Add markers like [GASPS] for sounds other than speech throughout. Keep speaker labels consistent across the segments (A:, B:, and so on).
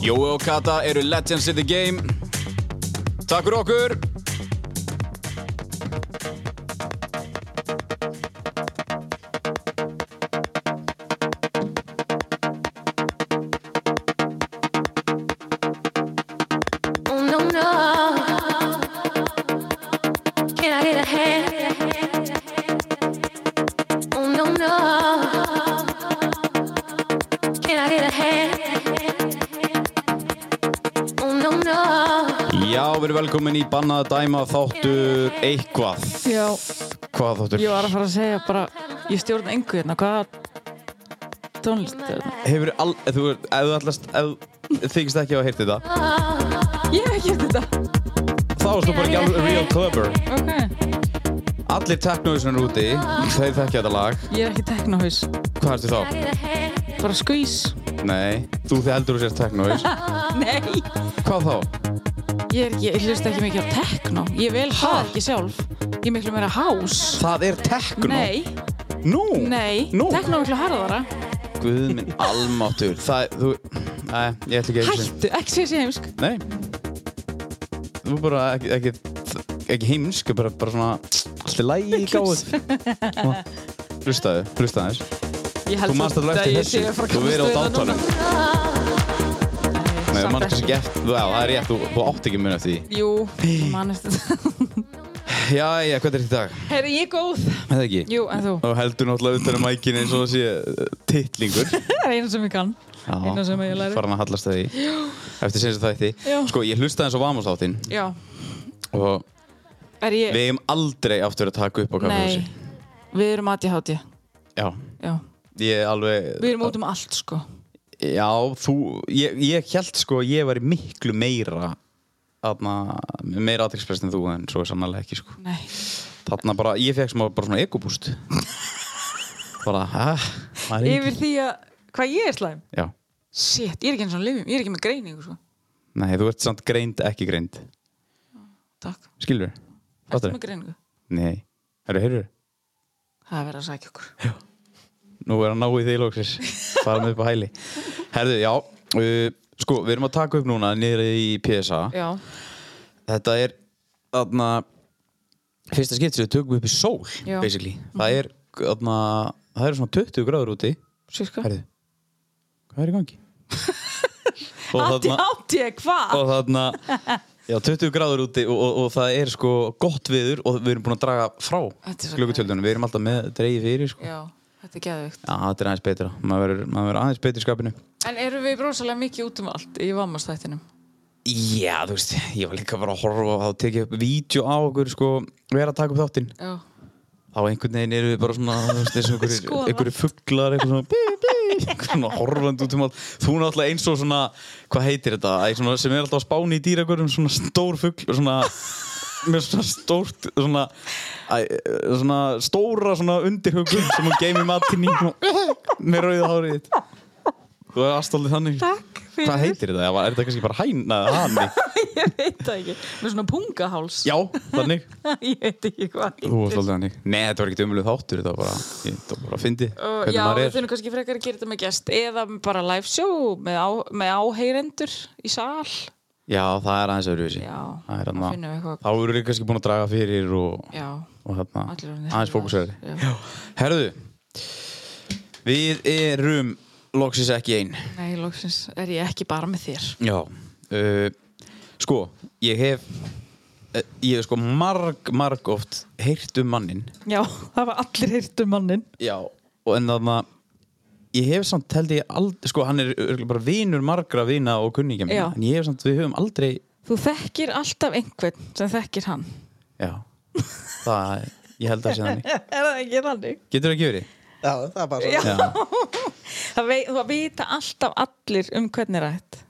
A: Jói og Kata eru legends in the game. Takk fyrir okkur!
B: Oh no no! Can I get a hand? Oh no no! Can I get a hand? Oh no no!
A: Já, við erum velkomin í Bannað að dæma þáttur eitthvað.
C: Já,
A: Hvað þáttur?
C: ég var að fara að segja bara, ég stjórn engu hérna, hvað tónlist er þetta?
A: Hefur all, ef þú, ef þú allast, ef þykist ekki að hafa heyrt þetta,
C: Ég hef ekki eftir þetta.
A: þá erstu bara ekki alveg real clubber.
C: Ok.
A: Allir teknóðisnur úti, þeir þekkja þetta lag.
C: Ég er ekki teknohaus,
A: Hvað ertu
B: Can I
A: þá?
B: get a hand?
C: bara skvís.
A: Nei, þú þið heldur þú sérst teknóðis.
C: Nei.
A: Hvað þá?
C: Ég er ekki, ég hlust ekki mikið á tekno. Ég vel það ekki sjálf. Ég er miklu meira house.
A: Það er teknó.
C: Nei,
A: Nú?
C: nei,
A: Nú?
C: tekno er miklu harðara.
A: Guð minn almáttur Það, þú, nei, ég ætla ekki að hugsa.
C: Hættu, ekki sé sér heimsk.
A: Nei Þú er bara ekki, ekki, ekki heimsk bara, bara svona, allt er lægi í gáð Svona, Hlustaðu, hlustaðu þess
C: Ég held
A: Þú manst alltaf eftir þessu Þú verið á dátanum Nei, þú manst kannski eftir, já, það er rétt Þú, þú átt ekki mun eftir því
C: Jú, mannist þetta.
A: Jæja, hvað er þetta í dag?
C: Herri, ég er góð.
A: Hefði ekki?
C: Jú, en þú?
A: Og heldur náttúrulega utan um mækinu eins og það sé uh, titlingur
C: [LAUGHS] Það er eina sem ég kann. [LAUGHS] Eina sem ég læri.
A: Faran að hallast það í Eftir sinns að þætti
C: Já.
A: Sko, ég hlustaði eins og Vamos áttinn
C: Já,
A: og
C: er ég...
A: við hefum aldrei aftur að taka upp á kaffehúsi
C: Nei, við erum ADHD
A: já,
C: Já,
A: ég er alveg
C: við erum út um allt sko
A: já, þú, ég, ég held sko að ég var miklu meira þarna, meira aðriksprest en þú en svo er sannlega ekki sko
C: Nei,
A: þarna bara, ég fekk smá bara svona
C: [LAUGHS]
A: ekobúst bara, hæ, það er
C: yfir því að hvað ég er slæm
A: já,
C: Shit, ég er ekki eins og lifjum, ég er ekki með greiningu sko
A: nei, þú ert samt greind ekki greind,
C: Takk,
A: skilur
C: ertu
A: Fattar
C: með greiningu
A: nei, herru, heyrðu
C: Það er verið að sækja okkur
A: Nú er hann náið þig lóksins Fara með upp á hæli Herðu, já uh, Sko, við erum að taka upp núna niðri í PSA
C: [LAUGHS] Já,
A: Þetta er þarna Fyrsta skipt sem við tökum upp í sól
C: Já. Mhm.
A: Basically Það er þarna Það eru svona 20 gráður úti
C: sérska
A: Herðu Hvað er í
C: [LAUGHS]
A: gangi? og
C: ADHD, hvað?
A: Og þarna Já, 20 gráður úti og, og, og það er sko gott viður og við erum búin að draga frá
C: Þetta er svo
A: gluggatjöldunum, við erum alltaf með dreigið fyrir sko. Já,
C: Já, þetta er geðvikt
A: þetta er aðeins betra, maður verður- maður verður aðeins betur í skapinu
C: En eru við rosalega mikið út um allt í vammastættinum?
A: Já, þú veist, ég var líka bara að horfa og þá tekið upp vídeo á okkur sko, við erum að taka upp þáttinn
C: Já,
A: á einhvern veginn erum við bara svona þú veist, eins og einhverjir-
C: Skoða.
A: einhverjir fugglar eitthvað svona, bí, bí, eitthvað svona horfandi út um allt þú er náttúrulega eins og svona, hvað heitir þetta Æ, svona, sem er alltaf á spáni í dýragurum svona stór fuggl svona, með svona stórt svona, æ, svona stóra svona undirhugum sem hún geymir matinn í svona, með rauða hárið þitt. þú er aðstólið þannig
C: takk fyrir
A: hvað heitir þetta, er þetta kannski bara hæna eða hami
C: [LAUGHS] Ég veit það ekki Með svona pungaháls
A: Já, þannig
C: [LAUGHS] Ég veit ekki hvað
A: Þú varst alltaf þannig Nei, þetta var ekkert umlega þáttur Þetta var bara, ég, þetta var bara að fyndi
C: Uh,
A: Hvernig
C: já,
A: maður
C: við
A: er
C: þurfum kannski frekar að gera þetta með gest eða bara live show með, á, með áheyrendur í sal
A: Já, það er aðeins öðruvísi
C: Já,
A: Það er
C: þá
A: annað
C: finnum við eitthvað.
A: Þá eru við kannski búin að draga fyrir og,
C: Já,
A: og þarna
C: allir orðnir
A: Aðeins
C: Já.
A: fókusverði Herðu Við erum Loksins ekki ein
C: nei, lóksins er ég ekki bara með þér
A: Já uh, Sko, ég hef eh, Ég hef sko marg, marg oft Heyrt um mannin
C: Já, það var allir heyrt um mannin
A: Já, og en þarna ég hef samt held ég aldrei sko hann er örugglega bara vinur margra vina og kunningja
C: Já.
A: mín, en ég hef samt, við höfum aldrei
C: Þú þekkir alltaf einhvern sem þekkir hann
A: já, það ég held að sé þannig,
C: [LAUGHS] Er það ekki þannig?
A: getur það ekki verið?
D: Já, það er bara svo.
C: Já, það, vei, það vita alltaf allir um hvernig rætt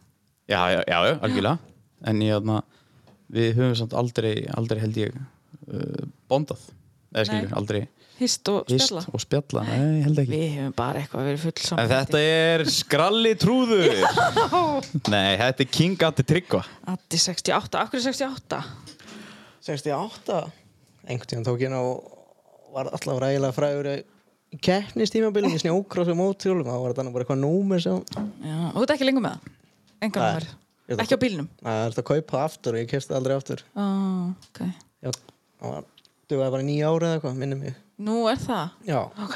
A: já, já, já, já, algjörlega en ég aðna, við höfum samt aldrei aldrei held ég uh, bondað, eða skilju,
C: Nei.
A: aldrei
C: Hist og
A: hist
C: spjalla
A: og spjalla, nei, ég held ekki
C: Við hefum bara eitthvað verið full
A: en
C: saman
A: þetta er skralli [LAUGHS] trúður nei, þetta er King Atti Tryggva
C: Addi 68, akkur 68
D: 68 einhvern tíðan tók ég ná var alltaf rægilega frægur í keppnistímabilið í snjókrossu mótjólum þá var þetta nú bara eitthvað númer sem
C: Já, og þú ert ekki lengur með það Engan
D: Nei.
C: var,
D: Ég ætla-
C: ekki á bílnum
D: það er þetta að kaupa aftur og ég kefst aldrei aftur
C: Ó, ok
D: já, það var dugaði bara í níu ára eða eitthvað, minni mig
C: Nú er það
D: já,
C: Ok,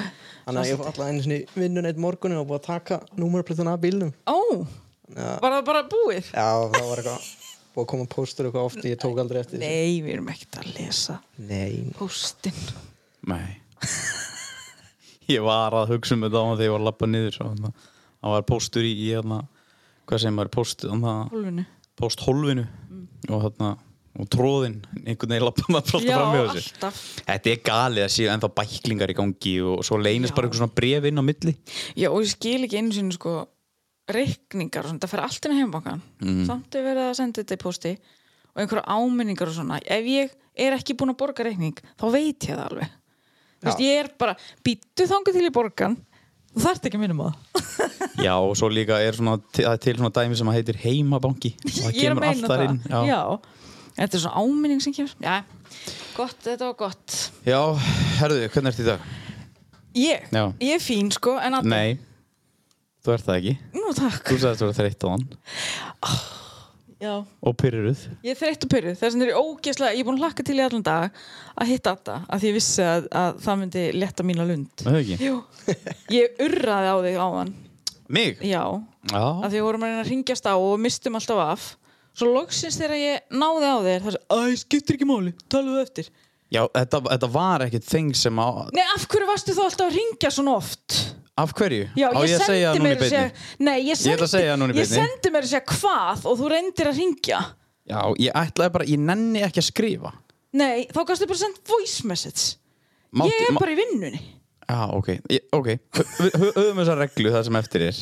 D: þannig að ég fór alltaf einu sinni í vinnun eitt morgunin og búið að taka númerplitun af bílnum
C: ó,
D: já,
C: var það bara búið?
D: já það var eitthvað búið að koma póstur eitthvað oft ég tók aldrei eftir þessu.
C: Nei, við erum ekkert að lesa
D: nei,
C: Póstinn
A: nei [LAUGHS] ég var að hugsa um þetta á þegar ég var að lappa niður svo, þarna. það var póstur í, í aðna, hvað sem var póstur þarna-
C: Hólfinu
A: pósthólfinu
C: Mm.
A: og þarna og tróðinn, einhvern veginn lappa maður alltaf
C: Já,
A: fram hjá þessu
C: alltaf.
A: þetta er galið að séu ennþá bæklingar í gangi og svo leynist
C: Já.
A: bara einhver svona bref inn á milli
C: Já, og ég skil ekki einu sinni sko reikningar og svona, það fer allt inn á heimabankan
A: Mhm.
C: samt er verið að senda þetta í posti og einhverja áminningar og svona ef ég er ekki búin að borga reikning þá veit ég það alveg Þú veist,
D: Já.
C: ég er bara, býttu þangu til í borgan þú þarft ekki að minnum að það
A: já og svo líka er svona til, það er til svona dæmi sem að heitir
C: [LAUGHS]
A: heimabanki og það
C: ég er að
A: kemur allt
C: meina
A: þar
C: það
A: inn já.
C: já. þetta er svona áminning sem kemur já, gott, þetta var gott
A: já, herðu, hvernig ertu í dag?
C: ég,
A: Já.
C: ég er fín sko en að,
A: nei, þú ert það ekki
C: nú takk
A: þú sagðist þú að þreytt á hann
C: já.
A: og pyrruð
C: Ég er þreytt og pyrruð, þess vegna er ég ógeðslega, ég er búin að hlakka til í allan dag að hitta Adda, að því ég vissi að, að það myndi letta mína lund.
A: mig?
C: Jú, [LAUGHS] ég urraði á þig áðan, já, að
A: já,
C: því við vorum að reyna að ringjast á og mistum alltaf af. Svo loksins þegar ég náði á þér, það er svo, æ, skiptir ekki máli, talum við eftir.
A: já þetta, þetta var ekkert þeng sem á
C: Nei, af hverju varstu þá alltaf að ringja svona oft?
A: af hverju?
C: Já,
A: Á
C: ég,
A: að segja
C: sendi
A: núna í
C: mér að
A: beinni?
C: segja, nei, ég
A: Ég ætla
C: sendi,
A: að segja núna í
C: ég
A: beinni.
C: sendi mér að segja hvað og þú reyndir að ringja.
A: Já, ég ætlaði bara, ég nenni ekki að skrifa
C: Nei, þá gafstu bara sendt voice message.
A: Máttu-
C: ég er
A: má-
C: bara í vinnunni.
A: Já, ok, ég, ok Hö- Við hö- höfum þessa reglu það sem eftir er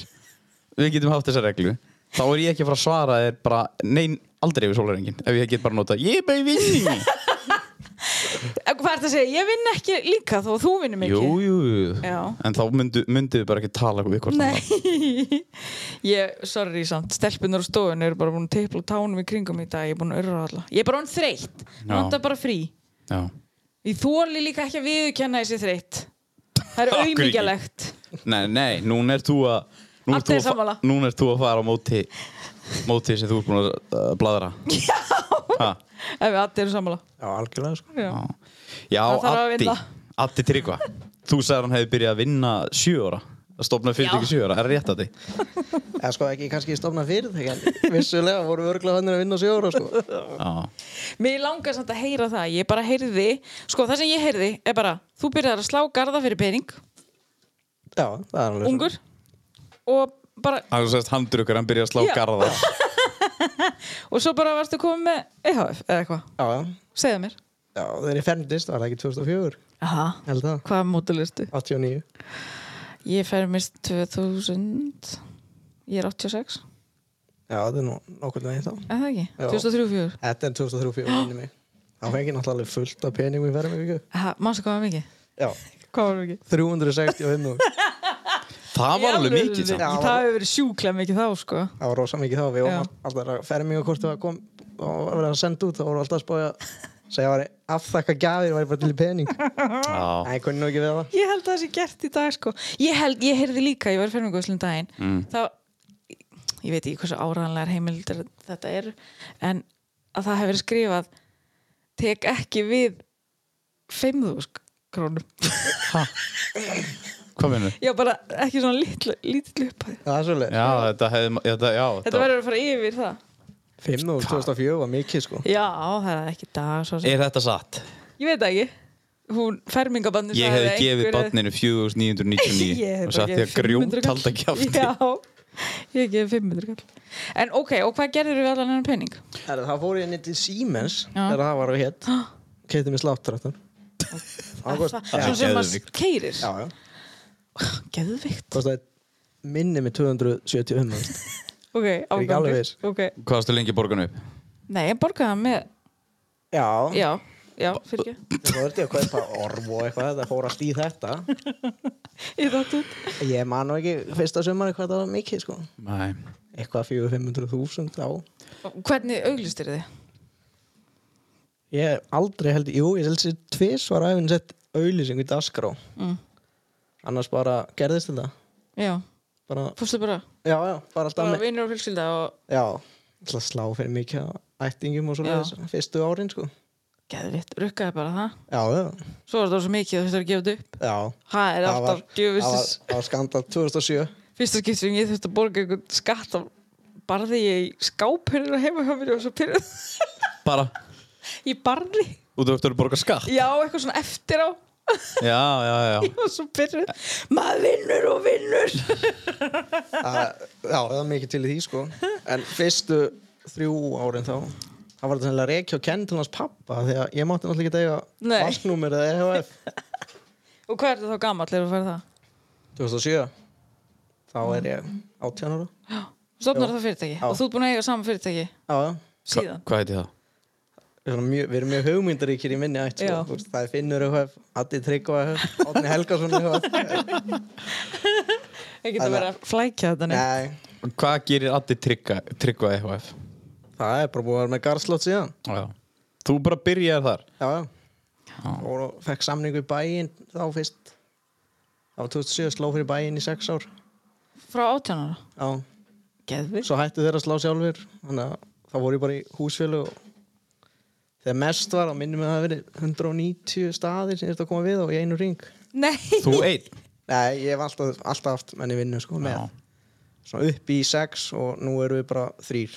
A: Við getum haft þessa reglu Þá er ég ekki að fara að svara þér bara Nein, aldrei yfir sólarengin Ef ég get bara nota, ég er bara í vinni
C: [LAUGHS] Eh, Hvað ert að segja? Ég vinn ekki líka þó að þú vinnum ekki.
A: Jú, jú,
C: Já.
A: en þá myndu, myndu við bara ekki tala við hvort annað.
C: Nei. [LAUGHS] Ég, sorry samt, stelpunar á stofun eru bara búin að teipla tánum í kringum í dag. Ég er búin að örra alla. Ég er bara hann þreytt.
A: Já.
C: Nóta bara frí.
A: Já.
C: Ég þóli líka ekki að viðurkenna þessi þreytt. Það er
A: Af hverju ekki?
C: auðmíkjalegt.
A: Nei, nei, núna ert þú að Núna
C: Allt
A: ert þú
C: er
A: að fa-
C: sammála.
A: núna ert þú að fara á móti Móti sem þú ert búin að uh,
C: [LAUGHS]
A: bladra Já ha.
C: Ef við allir eru sammála.
D: já, algjörlega sko
C: Já.
A: Já,
C: Það þarf að
A: Addi,
C: vinna.
A: Addi Tryggva Þú sagði hann hefði byrjað að vinna sjö ára að stopna fyrir ekki
C: Já.
A: sjö ára, er rétt að því
D: eða sko ekki kannski stofna fyrirtæki en vissulega vorum við örglega hannir að vinna sjóra sko
A: Já,
C: Mér langar samt að heyra það. Ég bara heyrði, sko það sem ég heyrði er bara, þú byrjar að slá garda fyrir pening,
D: já, það er alveg svo.
C: ungur, og bara
A: hann sérst handrukkar, hann byrjaði að slá
C: Já.
A: garða
C: Og svo bara varstu komið með EHF eða eitthvað,
D: já, já
C: segðu mér
D: Já, þegar ég ferndist var það ekki 2004,
C: Aha.
D: held það,
C: Hvað mótulustu?
D: 89.
C: Ég fermist 2000 Ég er 86,
D: Já, það er nú nokkur veginn þá.
C: er það ekki?
D: Já.
C: 2003-04
D: Þetta er 2003-04 minni mig. Það fengi náttúrulega alveg fullt af peningum í ferðum ykkur.
C: Aha, Mástu hvað var mikið?
D: Já,
C: Hvað var mikið?
D: 365 og
A: Það var alveg mikið samt.
D: Já.
C: Það hefur verið sjúklega mikið þá sko
D: það var rosa mikið þá. Við
C: Já.
D: varum alltaf að ferðum ykkur hvort það kom og var að senda út. Það voru alltaf að spája að segja að aftakka gafir væri bara til í pening.
A: Já.
D: Æ, kunni nú ekki við það.
C: Ég held að það sé gert í dag sko Ég held, ég heyrði líka, ég var í ferminguðslum daginn mm. þá, ég veit ekki hversu áræðanlegar heimildir þetta er en að það hefur verið skrifað tek ekki við 5.000 krónum
A: Hvað minnur?
C: Já, bara ekki svona litlu, litlu upphæð
D: Það er svolítið.
A: Já, þetta hefði, ma- þetta, já,
C: Þetta verður að fara yfir það
D: 5 og 2004 var mikið sko.
C: Já, það er ekki dag svo sem
A: Er þetta satt?
C: Ég veit það ekki Hún fermingabannu
A: Ég hefði gefið
C: [LAUGHS]
A: barninu 4999 og satt því að grjótalda kjáfti
C: Já, ég hef gefið 500 kall En ok, og hvað gerður við allan hennar pening?
D: Herra, Það fór ég inn til Siemens
C: Já.
D: þegar það var á hétt. Keitið mér sláttrættan.
C: [LAUGHS] Það, svo sem maður
A: geðveikt.
C: keirir
D: Já, já.
C: Geðvikt
D: kostaði minni með 275 þúsund.
C: ok,
D: ekki alveg
C: ágangur
D: viss.
C: ok,
A: Hvað varstu lengi borgan upp?
C: nei, ég borgaði það með
D: Já,
C: já, já, fyrir ekki
D: þú verður að kaupa orv og eitthvað þetta fór allt í þetta
C: ég þátt út
D: Ég man nú ekki fyrsta sömari hvað það var mikið sko
A: Nei
D: Eitthvað 400-500.000 þá
C: hvernig auglistir þið?
D: Ég hef aldrei held, jú, ég held sér tvisvar æfinn sett auðlýsing í Daskró
C: Mm.
D: annars bara gerðist þetta
C: já,
D: bara,
C: fórstu bara
D: já, já, bara alltaf
C: bara
D: með
C: vinnur og fjölskylda og
D: Já, alltaf slá fyrir mikið af ættingum og svo fyrstu árin, sko
C: geðvitt, rukkaði bara það
D: Já, já,
C: svo var það svo mikið að þú þurfti að gefa þetta upp
D: já
C: það er
D: Það var-
C: alltaf
D: Það var,
C: djöfustis
D: það var skandal 2007
C: fyrsta skipt sem ég þurfti að borga einhvern skatt af barði ég í skápurinn og heima hjá mér og svo pyrrð
A: Bara
C: í barði,
A: Út af eftir að borga skatt
C: já, eitthvað svona eftir á [LAUGHS]
A: Já, já, já
C: ég var svo pyrrð maður vinnur og vinnur
D: Það- Já, það var mikið til í því, sko En fyrstu þrjú árin þá Það var þetta sennilega reykja og kenn til hans pappa því að ég mátti náttúrulega ekki
C: Nei.
D: eiga vasknúmer eða E EHF
C: og hvað er það þá gamall ef að fara það?
D: 2007 Þá er ég 18 ára
C: stofnar það fyrirtæki
D: Já.
C: og þú ert búin að eiga saman fyrirtæki
D: Já, já
C: síðan
A: Hvað heiti það?
D: Við erum mjög, við erum mjög hugmyndaríkir í minni ætt
C: Já.
D: sko. Þú veist, það er Finnur EHF, Addi Tryggva E EHF, Átni Helgason
C: [LAUGHS]
D: E EHF
C: ég geta
D: Það-
C: verið að flækja þetta neitt
D: Nei,
A: Hvað gerir Addi Tryggva, tryggva EHF?
D: það er bara búið að vera með Garslót síðan
A: Já Þú bara byrjaði þar
D: Já, já og fekk samningu í bæinn þá fyrst á 2007 sló fyrir bæinn í sex ár
C: frá átjánara,
D: Já,
C: geðvitt
D: svo hættu þeir að slá sjálfur þannig að þá voru ég bara í húsfjölu og þegar mest var þá minnum við að það hafi verið 190 staðir sem þurfti að koma við og í einu ring
C: nei, [LAUGHS]
A: Þú einn
D: Nei, ég hef alltaf, alltaf haft menni vinnu sko með
A: Já.
D: svona upp í sex og nú eru við bara þrýr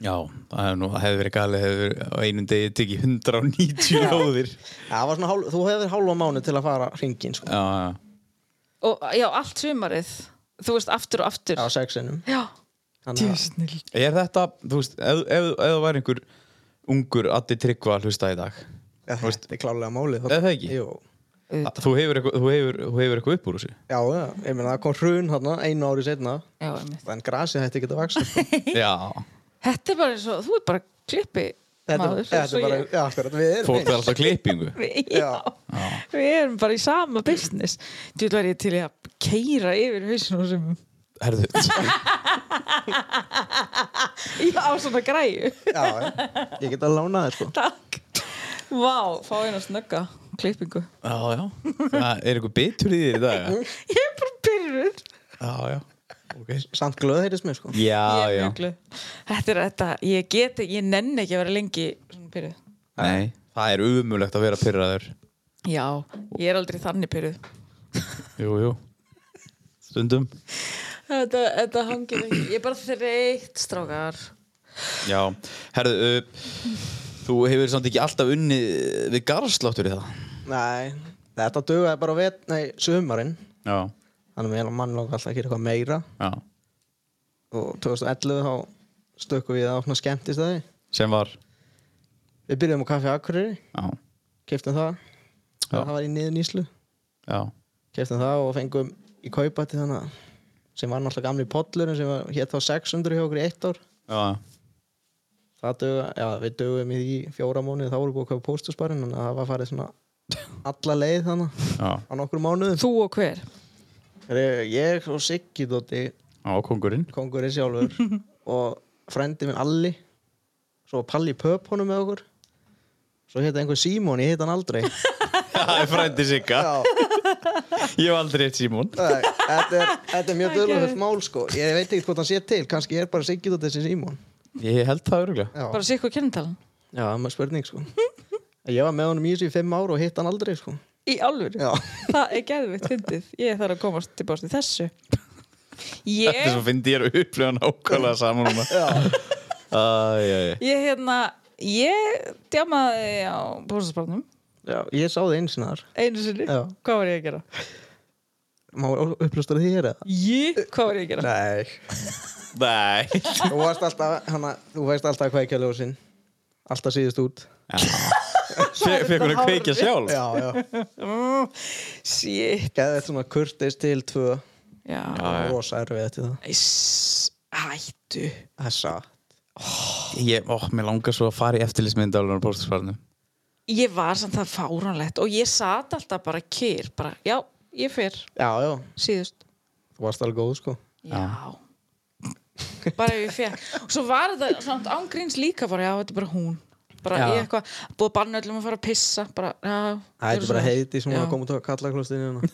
A: Já, það hefði nú, það hefði verið galið hefði verið á einum degi tekið 190 lóðir
D: Það var svona, hálf, þú hefur hálfa mánu til að fara hringin sko.
A: Já, já
C: og já, allt sumarið þú veist, aftur og aftur
D: á sexinum
C: já,
D: Þannig að
C: djöfsnill
A: Er þetta, þú veist, ef, ef, ef það væri einhver ungur Addi Tryggva að hlusta í dag
D: ja, þetta er klálega málið
A: Er það ekki?
D: Jú.
A: Þú hefur eitthvað, þú hefur, þú hefur eitthvað upp úr þessu
D: Já, já, ég meina það kom hrun þarna einu ári setna
C: já, einmitt.
D: en grasið hætti ekki að vaksa sko.
A: Já,
C: þetta er bara eins og, þú ert bara klippi
D: Þetta,
C: maður,
D: þetta
C: svo
D: er bara,
C: ég-
D: já, akkurat, við erum
A: fólk er alltaf klippingu
C: Við-
D: Já.
C: Já, við erum bara í sama business Þú veit væri ég til í að keira yfir hausinu sem
A: Herðu,
C: Já, á svona græju [LAUGHS]
D: já, já, ég get að lána þér sko.
C: Takk Vá, fá eina snögga klippingu
A: [LAUGHS] já, já Það er eitthvað bitur í þér í dag eða?
C: Ég er bara byrjuð
A: Já, já, ok
D: samt glöð heyrðist mér sko.
A: Já,
C: Ég er
A: já,
C: mjög glöð. Þetta er þetta, ég get ekki, ég nenni ekki að vera lengi svona byrjuð
A: nei Það er umulegt að vera pyrraður
C: Já, ég er aldrei þannig byrjuð
A: Jú, jú Stundum
C: Þetta, þetta hangir ekki, ég er bara þreytt strákar
A: Já, herðu uh, Þú hefur samt ekki alltaf unnið uh, við garðsláttur í það
D: Nei, þetta dugaði bara vet, nei, sumarinn
A: Já,
D: þannig að mér mann lóka alltaf að gera eitthvað meira
A: já
D: og 2011 þá stökkum við að opna skemmtistæði
A: Sem var
D: Við byrjum á Kaffi Akureyri,
A: Já,
D: keftum það það var í niður nýslu
A: já,
D: keftum það og fengum í kaupa til þannig að- sem var náttúrulega gamli pollurinn sem var hétt þá 600 hjá okkur í eitt ár
A: já
D: það duga, já við dögum í því fjóra mánuði þá voru búið að kaupa póstusparinn þannig að það var farið svona alla leið þannig
A: Já,
D: á nokkur mánuðum
C: Þú og hver?
D: Heyrðu, ég og Siggi Dótti
A: á [LAUGHS] kongurinn
D: kongurinn [LAUGHS] sjálfur og frendi minn Alli svo var Palli Pöp honum með okkur svo hétt einhver Símon, ég hitt hann aldrei
A: Það er frændi sigga
D: [LAUGHS] já
A: Ég hef aldrei eitt Simón
D: Nei, þetta er, þetta er mjög dörfulegt mál sko Ég veit ekki hvort hann sé til, kannski er bara Siggi Dóttir sem Simon
A: Ég held það öruglega
D: Já,
C: Bara
D: Já,
C: sé hvað kenntalan?
D: það er maður spurning [LAUGHS] sko Ég var með honum í þessu í fimm ár og hitt hann aldrei sko
C: Í alvöru?
D: Já,
C: Það er geðvitt fyndið. Ég þarf að komast tilbást í þessu.
A: Þetta er
C: Ég,
A: svo fyndi ég að upplifa nákvæmlega saman um það
D: já,
A: Æ, æ, æ.
C: ég hérna, ég djamaði á bóðsasbarnum
D: já ég sá það eins og þar
C: einu sinni.
D: Já.
C: Hvað var ég að gera?
D: Má upplustur því hér eða?
C: Ég? Hvað var ég að gera?
D: Nei,
A: Nei
D: þú varst alltaf, hana, þú veist alltaf hvað ekki að ljósin Alltaf síðust út
A: Fekkur hún að kveikja sjálf
D: Já, já
C: Mm, Shit.
D: Geðið svona kurteis til tvö
C: Já.
A: já.
D: Rosa erfið eftir það
C: Æss. Hættu
D: Það er satt
A: Ég, ó, mér langar svo að fara í eftirlýsmyndalunar póstisvarnum.
C: Ég var samt það fáránlegt og ég sat alltaf bara kýr bara, já, ég fer
D: Já, já,
C: síðust
D: þú varst alveg góð sko
C: Já bara ef ég fekk og svo var þetta samt ángríns líka bara, já, þetta er bara hún bara
D: Já.
C: ég eitthvað, búið að banna öllum að fara að pissa bara, já, gjörðu
D: Það er bara
C: svo vel.
D: heiti sem
C: Já.
D: var að koma út á kallaklostinu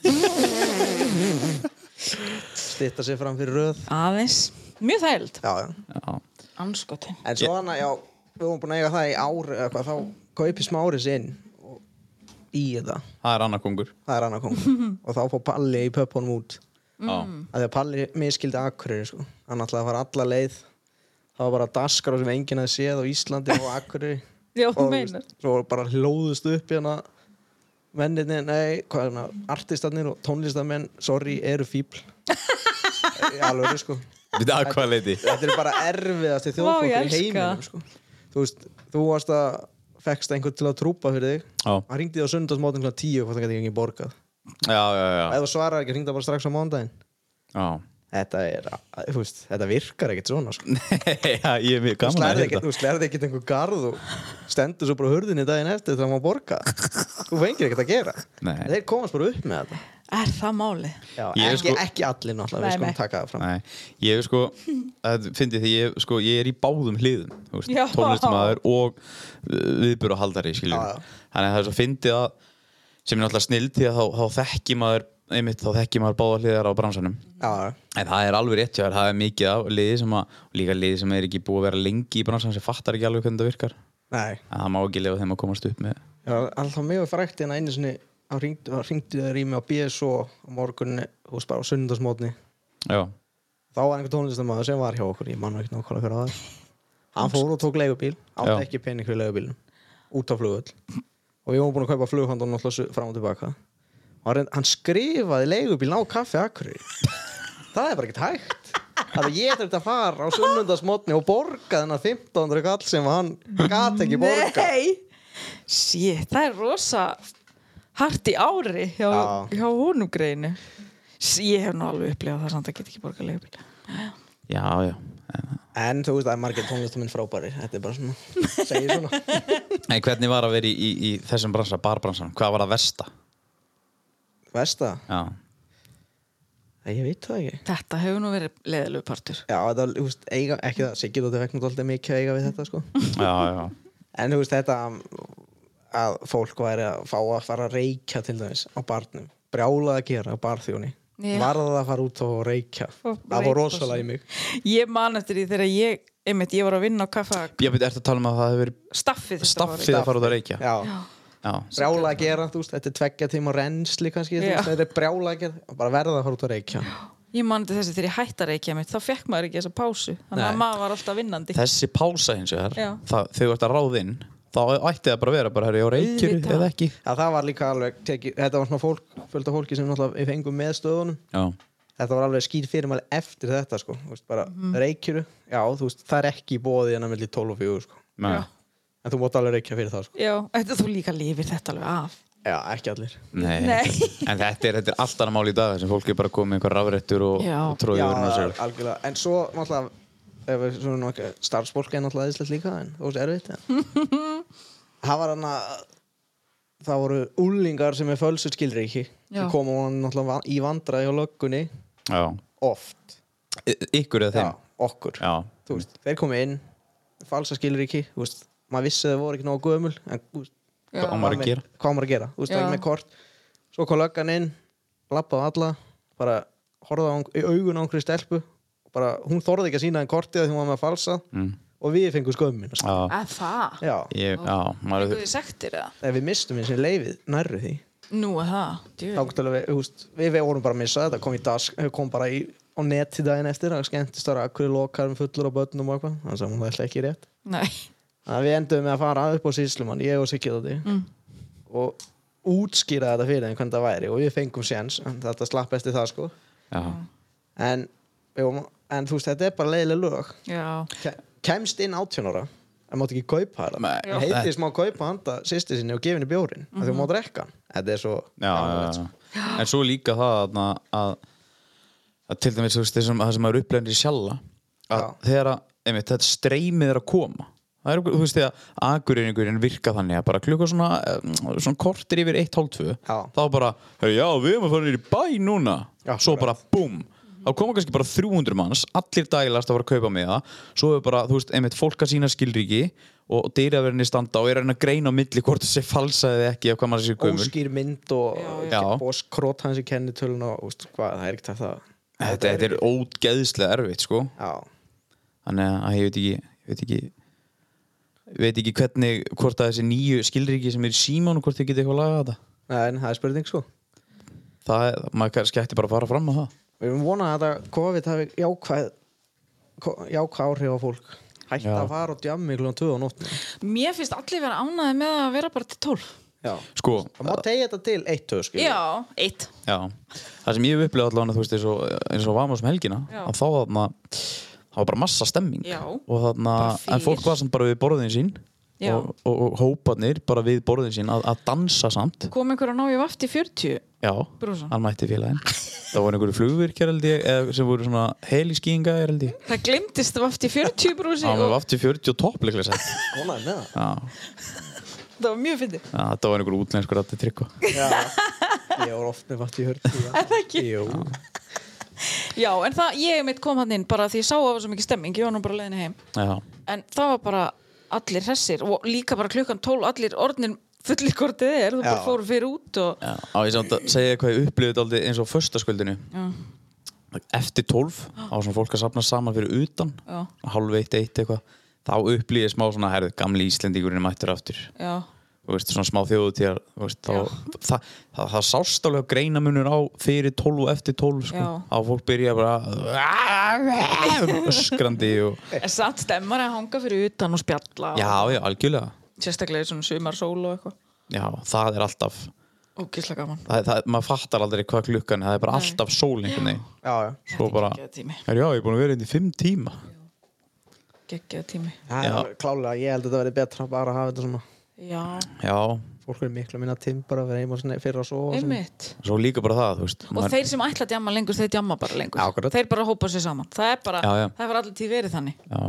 D: Stitta sig fram fyrir röð
C: aðeins, mjög þægild
D: Já, já
A: Já.
C: anskotin,
D: En svo hana, já, við vorum búin að eiga það í ár eða hvað, þá kaupi smáris inn og í þetta,
A: Það er annarkongur.
D: það er hann að koma og þá fór Palli í pöppunum út
A: Mm.
D: að því að Palli miskildi Akureyri sko. hann ætlaði að fara alla leið það var bara daskar sem enginn hafði séð á Íslandi og Akureyri
C: Já, [LAUGHS] þú
D: og
C: meinar.
D: veist, svo bara hlóðust upp í hana mennirni, nei, hvað er hana artistarnir og tónlistamenn, sorry, eru
C: [LAUGHS]
D: fíbl í alveg sko
A: Við það hvað leiti.
D: þetta er bara erfiðasti
C: Vá, ég
D: þjóðfólkur í
C: elska
D: heiminum
C: það.
D: sko. þú veist, þú varst að fekkst einhvern til að trúpa fyrir þig
A: Já,
D: hann ringdi þig á sundagsmótin kl. 10 hvort það gæti ekki borgað
A: já, já. já.
D: ef þú svarar ekki, ringdi það bara strax á mándaginn
A: já.
D: þetta er, að- þú veist, þetta virkar ekkert svona sko.
A: já ég er mjög
D: þú
A: gaman að
D: slærði
A: hérna.
D: ekkert, þú slærði ekkert einhver garð og stendur svo bara á hurðinni daginn eftir þegar maður borga þú fengir ekkert að gera
A: Nei.
D: þeir komast bara upp með þetta
C: er það málið?
D: Já,
A: Ég er
D: ekki,
A: sko-
D: ekki allir náttúrulega, við
C: Nei,
D: skulum
C: nei.
D: taka það fram
A: Nei, ég hef sko, það fyndi því ég, sko, ég er í báðum hliðum þú veist,
C: Já.
A: tónlistamaður og viðbúru haldari skilur
D: Já, já.
A: þannig að það er svo fyndi að sem er náttúrulega snill því að þá, þá þekki maður einmitt þá þekki maður báða hliðar á bransanum
D: Já,
A: en það er alveg rétt hjá þér, það er mikið af liði sem að, og líka liði sem er ekki búið að vera lengi í bransanum sem fattar ekki alveg hvernig það virkar
D: nei
A: að það má ekki lefa þeim að komast upp með
D: Já, alltaf mjög frækt en hérna einu sinni þá ringdi, þá ringdi þeir í mig á BSO á morgunni, þú veist bara á sundagsmótni
A: já,
D: þá var einhver tónlistamæður sem var hjá okkur ég manna ekki nákvæmlega hver að það hann fór og tók leigubíl,
A: Já.
D: átti ekki pening fyrir leigubílnum út á flugull og við vorum búin að kaupa flughandun og alltaf fram og tilbaka og hann, reynd- hann skrifaði leigubíln á kaffi akkurri það er bara ekkert hægt þannig að ég þurfti að fara á sunnundasmotni og borga þennan 1500 kall sem hann gat ekki borga
C: Nei Shit, það er rosa hart í ári hjá,
D: Já.
C: hjá honum greinu S- Ég hef nú alveg upplifað það samt að geta ekki borgað leigubíl
A: já, já en,
D: En þú veist, það er margir tónlistamenn frábæri Þetta er bara svona, segir svona
A: en hvernig var að vera í, í, í þessum bransa, barbransanum, hvað var að versta
D: Veist það?
A: já,
D: Nei, Ég veit það ekki
C: Þetta hefur nú verið leðilegu partur
D: Já, það, þú veist, eiga, ekki það Siggi Dóttir vekk nú alltaf mikið að eiga við þetta sko.
A: já, já
D: En þú veist, þetta að fólk væri að fá að fara að reykja til dæmis á barnum Brjálað að gera á barþjóni
C: Já.
D: Varða að fara út og reykja
C: Og
D: Það
C: reykja
D: var rosalega í mig
C: Ég man eftir því þegar ég einmitt, ég var að vinna á kaffa
A: Ég veit, ertu að tala um að það hefur verið
C: staffið þetta var í-
A: staffið að fara út að reykja
D: Já,
A: Já,
D: brjálað að gera, þú veist, þetta er tveggja tíma reynsli kannski, þú
C: Já.
D: veist, þetta er brjálað að gera Bara verða að fara út og reykja
C: Ég man eftir þessi þegar ég hætti að reykja mitt þá fekk maður ekki þessa pásu þannig að
D: Nei.
C: maður var alltaf vinnandi
A: þessi pása hins vegar
C: Já.
A: það, þegar þú ert að ráða inn þá ætti það bara að vera bara herri á reykjur
C: Auðvitað.
A: eða ekki
D: Já, það var líka alveg, teki, þetta var svona fólk, fullt af fólki sem náttúrulega við fengum með stöðunum.
A: Já,
D: Þetta var alveg skýr fyrirmæli eftir þetta, sko. Þú veist, bara mm. reykjuru, já, þú veist, það er ekki í bóði en að milli 12 og 4, sko.
A: Nei.
C: Já.
D: En þú mátt alveg reykja fyrir það, sko.
C: Já, þetta, þú líka lifir þetta alveg af
D: Já, ekki allir.
A: Nei.
C: Nei.
A: [LAUGHS] En þetta er, þetta er allt annað mál í dag sem fólk er bara komið með einhver rafrættur og,
C: Já.
A: og tróði
D: já,
A: úr náttúrulega
D: algjörlega. En svo, náttúrulega, ef við svona nokkuð, starfsfólk er náttúrulega aðeinslega líka, en þú veist, erfitt, [LAUGHS] en. það var hann að, það voru úlingar sem er fölsuð skilriki.
C: Já.
D: sem komu náttúrulega van- í vandræði hjá löggunni
A: Já,
D: oft.
A: I- ykkur eða
D: Já,
A: þeim
D: okkur.
A: Já,
D: þú veist, þeir komu inn falsa skilur ekki, þú veist maður vissi að þeir voru ekki nógu gömul en þú veist,
A: hvað á maður að gera?
D: hvað á maður að gera, þú veist,
C: Já.
D: ekki með kort svo kom löggan inn, lappaði alla bara horfði á hann- í augun á einhverju stelpu og bara, hún þorði ekki að sína en kortið að hún var með að falsa mm. og við fengum skömmin sko.
A: Já,
C: Að það?
D: já,
A: ég, já maður,
C: Fenguð þið sektir eða?
D: þegar við mistum eins og leifið nærru því
C: Nú að það, djú
D: þá getur við, þú veist, við, við vorum bara að missa þetta kom í dask, kom bara í á neti daginn eftir, það skemmtist að akkur lokar um fullur á börnum og eitthvað, þannig að hún ætla ekki rétt
C: Nei
D: Þannig að við endum með að fara upp á Sýslumann, ég og Siggi Dóttir
A: Mm.
D: og útskýra þetta fyrir þeim hvernig það væri og við fengum séns, en þetta slapp eftir það sko
A: já,
D: en, jú, en þú veist, þetta er bara leiðileg lög
C: Já,
D: Ke- kemst inn 18 ára en mátt ekki kaupa þetta
A: Nei, Já.
D: heitið sem má kaupa handa sýsti sinni og gefa henni bjórin mm -hmm.
A: Mhm.
D: að þú má drekka hann þetta er svo sko.
A: já, já, já. En svo líka það að, að, að til dæmis þú veist, þessum, það sem maður upplegðir í sjalla að þegar að, einmitt, þetta streymið er að koma það er, þú veist, þegar akureyringurinn virka þannig að bara klukka svona, eh, svona kortir yfir 1.30
D: Já.
A: þá bara, "Herra, já, við erum að fara niður í bæ núna
D: Já,
A: svo bara, búm þá koma kannski bara 300 manns, allir dælast að fara að kaupa með það, svo er bara, þú veist, einmitt fólk að sína skilríki og dýraverðinni standa og er að reyna að greina á milli hvort þessi falsaði ekki eða hvað maður sé gömul
D: óskýr mynd og
A: Já.
D: bóskrót hans í kennitölun og úst, hvað, það er ekkert að það
A: þetta, þetta er ógeðslega erfitt, sko
D: Já,
A: þannig að- að ég veit ekki ég veit ekki ég veit ekki hvernig, hvort að þessi nýju skilríki sem er í síman og hvort þið geta eitthvað að laga þetta
D: en það er spurning sko
A: það, er- maður kannski ætti bara að fara fram á það
D: Við erum vonað að þetta COVID hafi jákvæð ko- jákvæð áhrif á fólk Hætt
A: Já.
D: að fara og djammi klúan 2 á nóttunni
C: Mér finnst allir vera ánæði með að vera bara til 12
D: Já
A: sko,
D: Það má tegja þetta til 1-2 skil
C: Já, eitt
A: já, það sem ég hef upplegað allavega þú veist, eins og, eins og vama sem helgina
C: Já.
A: að þá þarna, það var bara massa stemming
C: Já.
A: og þarna,
C: Bara fjör.
A: en fólk var samt bara við borðin sín
C: Já.
A: og, og, og hóparnir bara við borðin sín að, að dansa samt
C: Kom einhver að ná í vaft í 40
A: já,
C: Brúsan.
A: hann mætti félaginn [LAUGHS] það voru einhverju flugvirkjar held ég eða sem voru svona heliskýinga held ég
C: Það glemdist vaft í 40 brúsi
A: Það var
C: og
A: aftur 40 og toppleiklega sett
D: Konaði með það
A: [LAUGHS] Já,
C: það var mjög fyndið
A: já, þetta var einhver útlenskur að þetta tryggva
D: Ég var oft með vatn í
C: [LAUGHS]
D: hörn Er
C: það ekki?
D: Jú
C: Já, en það, ég mitt kom hann inn bara því ég sá að það var svo mikið stemming, ég var nú bara leiðin heim
A: [LAUGHS] Já,
C: en það var bara allir hressir og líka bara klukkan 12 allir orðnir fullir hvort þið er þú bara
D: Já.
C: fóru fyrir út og
A: já á ég samt að segja hvað ég upplifði aldrei eins og á föstaskvöldinu
C: já,
A: Eftir 12 á svona fólk að safna saman fyrir utan
C: já,
A: Hálf eitt, eitt eitthvað Þá upplifði ég smá svona, herðu, gamli Íslendingurinn er mættur aftur
C: já,
A: Þú veist, svona smá þjóðu til að það, það, það, það sást alveg greinamunur á fyrir 12 og eftir 12 sko.
C: Já.
A: Á fólk byrja bara Öskrandi og
C: en satt stemmar að hanga fyrir utan og spjalla
A: Eh. Já, já, algjörlega
C: og sérstaklega í svona sumarsól og eitthvað
A: Já, það er alltaf
C: ógislega gaman
A: það, það, maður fattar aldrei hvað klukkan er, það er bara alltaf sól einhvern veginn
D: Já, já
A: svo bara,
C: geggjaði tími,
A: er já, ég er búin að vera inn í fimm tíma
C: geggjaði tími
D: Það
A: Já.
D: er alveg klálega, ég held að þetta verði betra bara að hafa þetta svona
C: já,
A: já,
D: Fólk er miklu minna tím bara að vera heima svona fyrir að sofa og svona.
C: einmitt
A: svo líka bara það, þú veist
C: og þeir sem ætla að djama lengur, þeir djama bara lengur
D: Já, akkurat.
C: þeir bara hópa sér saman, það er bara
A: Já, já.
C: það var allir tíð verið þannig
A: já,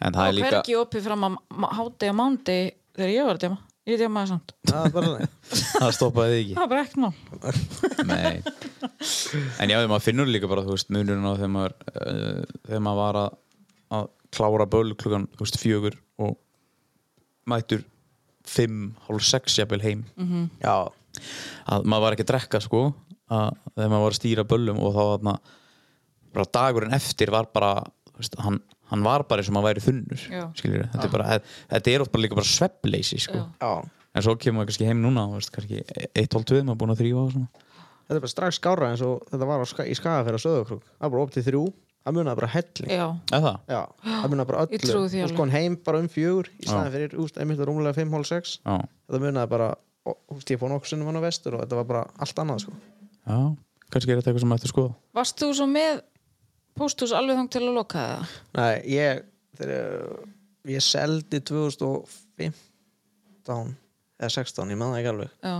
A: en það er
C: og
A: líka
C: hvergi opið fram að hátegi og mándi þegar ég var að djama, ég djamaði samt
D: Það er bara þannig.
A: [LAUGHS] það stoppaði þig
C: það var bara ekkert mál
A: ekki Nei. en já, maður finnur líka bara, þú veist, munurinn á þegar maður uh, þegar maður var að, að klára böl klukkan, þú veist, fjögur og mætur fimm, hálf sex jafnvel heim
C: Mhm.
D: Já,
A: að maður var ekki að drekka sko að þegar maður var að stýra böllum og þá þarna bara dagurinn eftir var bara þú veist, hann, hann var bara eins og maður væri þunnur
C: Já.
A: skilur þetta er bara e, þetta er oft bara líka bara sveppleysi sko
C: Já.
D: [LAUGHS] já
A: en svo kemur maður kannski heim núna þú veist kannski 1-12 maður búin að þrýfa og svona
D: Þetta er bara strax skára eins og þetta var á ska, í skagafæra söðukrúk Það er bara opið þrjú, það munaði bara helling
C: já,
A: eða það
C: [GASPS]
D: Já, það munaði bara öllu
C: Ég trúi því
D: Þú
C: alveg.
D: sko heim bara um fjögur í staðin fyrir, úst, einmitt rúmlega 5,5-6
A: já,
D: Þetta munaði bara, ó, úst, ég fór nokkuð sinnum hann á vestur og þetta var bara allt annað sko
A: já kannski er þetta eitthvað sem maður ætti að skoða
C: Varst þú svo með pósthús alveg þang til að loka það?
D: Nei, ég þegar, ég seldi 2015 eða 16, ég maður það ekki alveg
C: Já,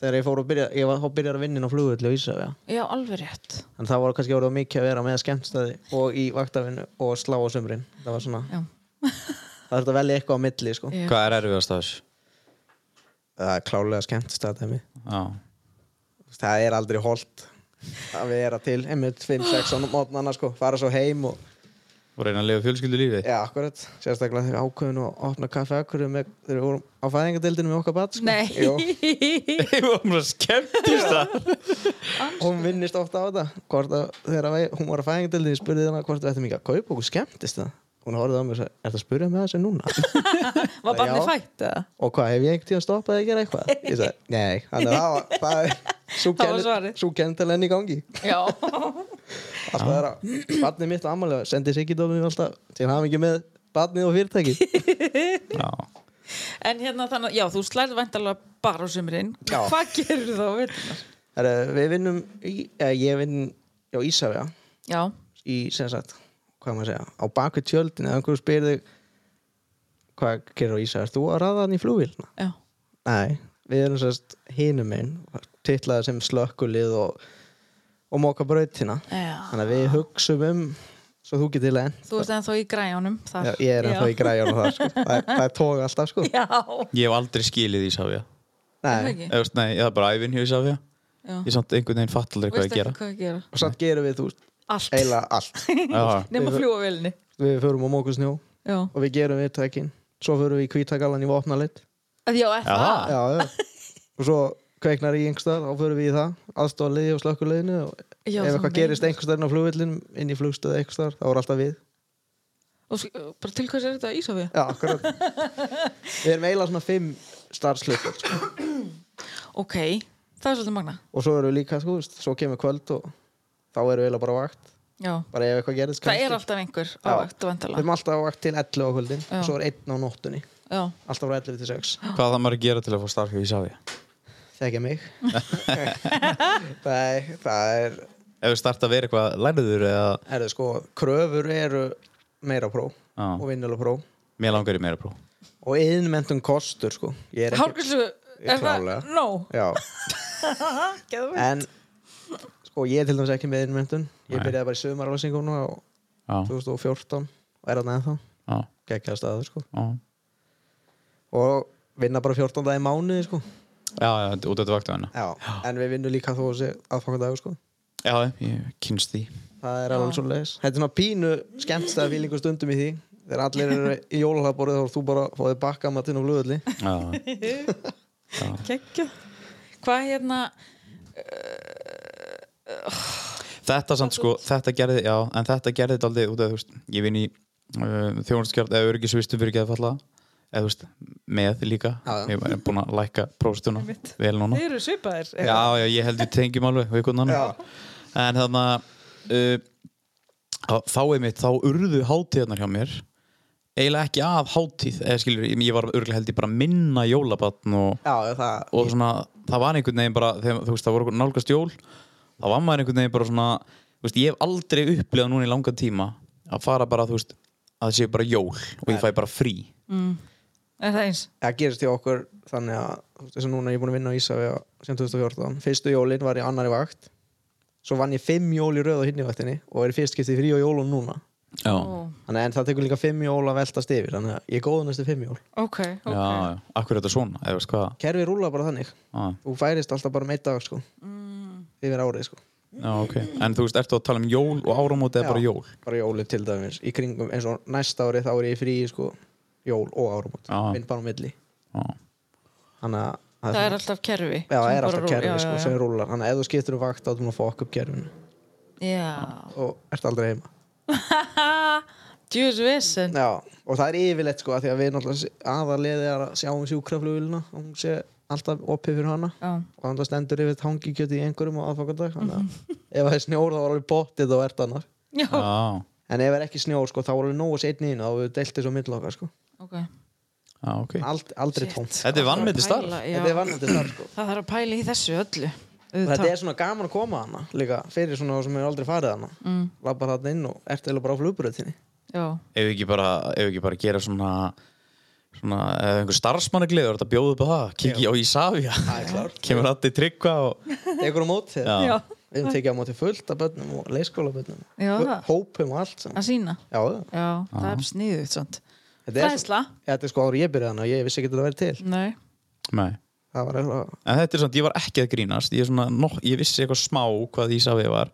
D: þegar ég fór að byrja, ég var þá byrjar að vinna á flugullu í Ísafja,
C: já alveg rétt.
D: en það var kannski orðið mikið að vera með skemmtstæði og í vaktafinu og slá á sumrin, það var svona
C: Já.
D: það þurfti að velja eitthvað á milli sko.
C: Já.
A: hvað er erfiðast af þessu
D: það er klálega skemmtstæði dæmi.
A: já,
D: það er aldrei holdt að vera til einmitt 5-6 á mótnana sko, fara svo heim og
A: og reyna að lifa fjölskyldu lífi
D: já, akkurat, sérstaklega þegar ákveðinu að opna kaffe akkur með, þegar við vorum á fæðingadeildinu með okkar bat sko.
C: [LAUGHS] Nei.
D: Jú.
A: [LAUGHS] ég var bara skemmtist það
D: hún vinnist ofta á þetta hvort að þegar að við- hún var að fæðingadeildinu ég spurði hana hvort við ættum ekki að kaupa okkur skemmtist það hún horfði á mig og sagði, er það að spurja með þessu núna? [LAUGHS]
C: Var barnið
D: Já.
C: fætt eða?
D: og hvað, hef ég einhvern tíðan stoppað að gera eitthvað? ég sagði, nei, þannig að það var það er svo
C: [LAUGHS] Það var
D: kenn-
C: svarið.
D: sú kennilegin í gangi
C: Já. [LAUGHS]
D: alltaf það er að barnið mitt á ammálega sendi sig ekki dómið alltaf til hafa ekki með barnið og fyrirtæki
A: já,
C: en hérna þannig, já, þú slærði væntalega bara á sumrin.
D: Já.
C: [LAUGHS] Hvað gerur þú á vettunar?
D: Herra, við vinnum í, eða, ég vinn á Ísafja
C: Já,
D: í sem sagt, hvað á maður að segja á baku tjöldin eða einhverju spyrir þig hvað gerir á Ísafja, ert þú að raða hann í flugvílna?
C: já,
D: Nei, við erum sérst hinum einn, titlaði sem slökkulið og, og móka brautina
C: já.
D: þannig að við hugsum um svo þú getið len
C: Þú veist ennþá í græjánum þar.
D: Já, ég er ennþá í græjunum þar sko. það, er- það er tóga alltaf sko
C: Ah. Já.
A: Ég hef aldrei skilið Ísafja
C: það
D: Nei,
C: ekki?
A: Nei, nei ég hef bara ævinn hjá Ísafja
C: Já.
A: Ég samt einhvern veginn fatt aldrei hvað
C: Veist
A: ég gera
C: ekki hvað að gera.
D: og samt gerum við þú veist
C: Allt.
D: eiginlega allt
A: Já,
C: Nefn að
D: Við-
C: fljúa velni.
D: við förum á mókusnjó og
C: Já.
D: við gerum viðtækin svo förum við í kvítagallan í vopnalit
C: Að Já, er
A: Já,
C: það?
A: það.
D: já, já. og svo kveiknar í yngstar þá förum við í það, aðstofaliði og slökkuleginu og
C: Já,
D: ef
C: þú
D: eitthvað
C: meinar.
D: gerist einhverstaðin á flugvillin inn í flugstöðu einhverstaðar, þá er alltaf við
C: Og svo- bara til hvers er þetta Ísafja?
D: já,
C: [LAUGHS]
D: akkurat við erum eiginlega svona fimm starfslutur sko.
C: Ok, það er svolítið magna.
D: og svo erum við líka, sko, þú veist, svo kemur kvöld og þá erum við eiginlega bara á vakt
C: Já.
D: bara ef eitthvað gerist
C: Það er
D: kannski.
C: alltaf einhver á
D: Já.
C: vakt og
D: við
C: vendala.
D: erum alltaf á vakt til 11 á kvöldin
C: Já.
D: og svo er einn á nóttunni
C: Já.
D: alltaf frá 11 til 6
A: Hvað það maður að gera til að fá starf hjá Ísafja?
D: þekja
A: [LAUGHS]
D: mig [LAUGHS] Nei, það er,
A: Ef við starta að vera eitthvað lærður eða
D: er sko, kröfur eru meira pró
A: Já.
D: og vinnulega pró
A: Mér langar í meira próf
D: og yðnmentum kostur sko. ég er ekki
C: Hálfgjörnslu, er það?
D: Klárlega.
C: No.
D: já,
C: Geðum við.
D: en sko ég er til dæmis ekki með yðnmentun ég
A: Nei.
D: byrjaði bara í sömarálsinguna á
A: Já,
D: 2014 og er hann eða þá
A: já,
D: geggjaði staður sko
A: já
D: og vinna bara 14 dag í mánuði sko
A: Já, já, út af þetta vaktu hana
D: já. en við vinnum líka þó þessi aðfangandagur sko
A: Já, ég kynst því
D: það er alveg
C: Já.
D: svo leiðis þetta er svona pínu skemmtstæða fílingu stundum í því þegar allir eru í jólalaborið þá er þú bara fóðið bakka matinn og flugulli
A: Já,
C: Kekja. Hvað hérna?
A: Þetta samt sko, þetta gerði, já, en þetta gerði þetta aldrei út af, þú veist, ég vinn í uh, þjónustgjörð eða öryggisvistu fyrir geða falla eða, þú veist, með líka
D: Já, já.
A: ég er búin að lækka prófstuna vel núna
C: Þeir eru svipaðir.
A: Já, já, ég held við tengjum alveg við einhvern annan en þannig að uh, þá- þá einmitt, þá urðu hátíðarnar hjá mér eiginlega ekki af hátíð eða skilur, ég ég var örgulega held ég bara minna jólabatn og,
D: já, já, það
A: og svona, það var einhvern veginn bara þegar, þú veist, það voru nálgast jól þá var maður einhvern veginn bara svona þú veist, ég hef aldrei upplifað núna í langan tíma að fara bara, þú veist, að það séu bara jól og ég fæ bara frí
C: Mm. Er það eins?
D: það gerist hjá okkur þannig að þú veist, þess að núna ég er búin að vinna á Ísafi sem 2014, fyrstu jólin var ég annari vakt svo vann ég fimm jól í röð á hinni vaktinni og er í fyrst skipti frí á jólun núna
A: Já,
C: Ó,
D: þannig að en það tekur líka fimm jól að veltast yfir þannig að ég er góð næstu fimm jól
C: Ok,
A: já,
C: ok.
A: já, akkur er þetta svona eða veist hvað Ah,
D: kerfi rúla bara þannig,
A: Já.
D: þú færist alltaf bara meitt dag sko, yfir árið sko
A: Já, ok. En þú veist, ertu að tala um jól og áramóti eða
D: Já.
A: bara jól?
D: bara jólið til dæmis í kringum eins og næsta ári þá er ég frí sko, jól og áramót
A: Já.
D: minn bara á milli
A: Já.
D: þannig að
C: Það er alltaf kerfi.
D: Já, það
C: sem
D: er
C: bara
D: alltaf
C: rúll-
D: kerfi
C: já,
D: sko,
C: já, já.
D: sem rúlar Þannig að ef þú skiptir um vakt þá þú múin að fokk upp kerfinu
C: Já.
D: og ert aldrei heima
C: [LAUGHS] Djús vesen.
D: Já, og það er yfirleitt sko af því að við náttúrulega aðarliðið er að sjá um sjúkraflugulina og hún sé alltaf opið fyrir hana
C: Já.
D: og hann stendur yfir tangikjöti í einhverjum á aðfangardag þannig
C: [LAUGHS]
D: að ef það er snjór þá er alveg bóttið og ert annar
C: Já.
A: Já,
D: en ef það er ekki snjór sko þá er alveg nógu seinni inn og við deltið svo mill okkar sko
C: Ok.
A: já, ok.
D: Ald, aldrei tómt
A: Þetta er vannmyndi starf.
C: Pæla, já.
D: þetta er vannandi starf sko
C: Það þarf að pæla í þessu öllu.
D: og þetta er svona gaman að koma hana líka fyrir svona sem er aldrei farið hana mm. labba þarna inn og ert eða bara á flugbröðinni
C: Já.
A: Ef við ekki bara, ef við ekki bara gera svona, svona, eða einhver starfsmannagliður, þetta bjóðu upp á það, kikki á Ísafja.
D: það er klart
A: Kemur allir tryggva og,
D: tekur á móti þér.
A: já,
D: við höfum tekið á móti fullt af börnum og leikskólabörnum
C: Já, það.
D: hópum og allt saman.
C: Að sína.
D: já, já.
C: Já. Það er sniðugt svona.
D: þetta er, svo,
C: Fræðsla.
D: þetta er sko árið ég byrjaði hana og ég vissi ekki að þetta væri til
C: Nei.
A: nei.
D: það var eitthvað
A: En þetta er svona, ég var ekki að grínast, ég, er svona, nok, ég vissi eitthvað smá hvað Ísafja var,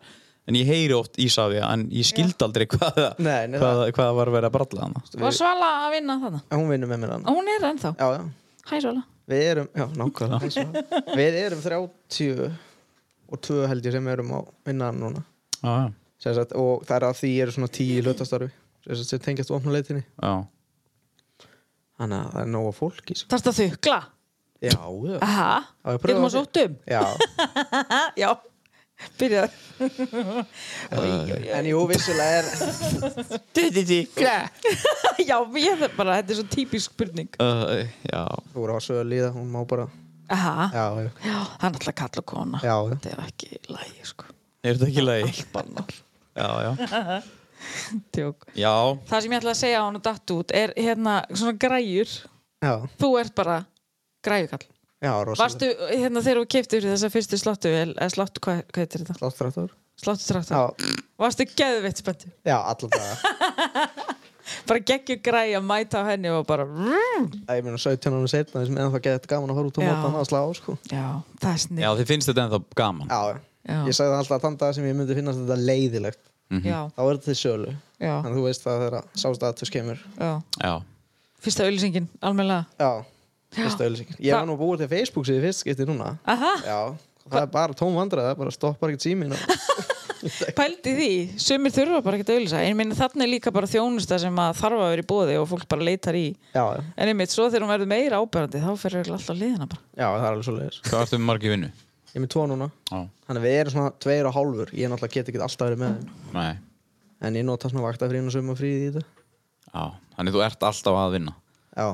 A: en ég heyri oft Ísafja, en ég skildi aldrei hvað,
D: Nei, nei,
A: hvað, hvað var verið að bralla hana.
C: Var Svala að vinna þarna?
D: En hún vinnur með mér hana
C: Og Hún er ennþá.
D: já, já.
C: Hæ Svala.
D: við erum já, nákvæmlega eins og það. [LAUGHS] við erum 30 og 2 held ég sem erum á vinnan núna
A: Já, já,
D: Sem sagt, og það er að því eru svona 10 í hlutastarfi sem sagt, sem tengjast ofnuleitinni
A: já.
D: þannig að það er nóga fólki sko.
C: Þarst að þukla.
D: já, já,
C: Aha.
D: Já, ég
C: Getum að
D: prófa það.
C: sóttum.
D: já
C: Já. Byrjaði.
D: En jú, vissulega er
C: Þukla. [LAUGHS] Já, ég þarf bara, þetta er svo típisk spurning.
A: Uh, já,
D: Þú voru á sölu í það, hún má bara
C: Aha.
D: Já, já,
C: Já. Það er náttúrulega kall og kona.
D: já, já.
C: Þetta er ekki lægi, sko.
A: er þetta ekki leið?
C: Bannar.
A: Já, já.
C: Tjók.
A: Já,
C: Það sem ég ætla að segja á hann og datt út er hérna svona græjur.
D: já.
C: Þú ert bara græjukall.
D: Já, rosalega.
C: Varstu, hérna þegar þú keiptir þessa fyrstu sláttuvel, eða sláttu, hvað, hvað heitir þetta?
D: Sláttrættur?
C: Sláttutraktor.
D: Já,
C: Varstu geðveitt spenntu?
D: já, alla daga.
C: Bara geggjur græi að mæta á henni og bara vrrrr.
D: Ég meina 17 ánum setna, þessum ennþá geðið þetta gaman að fara út og
C: Já.
D: móta hann að slá, sko.
C: Já, það er snið.
A: Já, þið finnst þetta ennþá gaman
D: Já, já.
C: Já.
D: Ég sagði það alltaf að þann dag sem ég myndi finnast þetta leiðilegt.
A: Mhm.
C: Já,
D: Þá er þetta til sölu.
C: já,
D: Þannig að þú veist það þegar sást aðtöks kemur.
C: já.
A: Já,
C: Fyrsta auðlýsingin, almennilega.
D: Já, fyrsta ölsing. Ég
C: Hva-
D: var nú búið til Facebook síðu fyrst skipti núna.
C: Aha,
D: Já, það er bara tóm vandræða, bara stoppar ekkert símin og
C: pældi því, sumir þurfa bara ekki að auðlýsa. En ég meina þarna er líka bara þjónusta sem að þarf að vera í bóði og fólk bara leitar í.
D: Já, já,
C: En einmitt, svo þegar hún verður meira áberandi, þá fer örugglega alltaf liðina bara.
D: já, það er alveg svo leiðis.
A: hvað ertu með margir vinnu?
D: Ég er með tvo núna,
A: Já,
D: þannig að við erum svona tveir og hálfur. Ég náttúrulega get ekki alltaf verið með þeim.
A: nei,
D: En ég nota svona vaktafrín og sumafríð í þetta.
A: já Þannig þú ert alltaf að vinna
D: Já,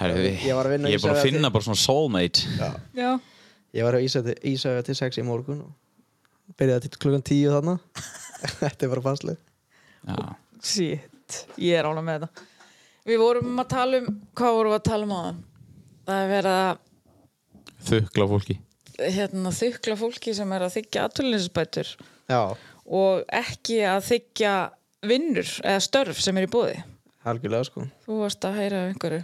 A: Herri, við-
D: Ég var að vinna
A: Ég
D: í
A: er bara að
D: Sörlaði.
A: finna bara svona soulmate
D: já.
C: Já.
D: Ég var á Ísafja Ísafja til 6 í morgun og byrjaði til klukkan 10 þarna. [LAUGHS] þetta er bara fastlið.
A: Já,
C: Shit, ég er ála með þetta Við vorum að tala um, hvað vorum við að tala um á það? Það er verið að
A: þukla fólki
C: hérna, þykla fólki sem er að þykja aðtölunisbætur
D: Já,
C: og ekki að þykja vinnur eða störf sem er í bóði
D: algjörlega sko.
C: Þú varst að heyra af einhverju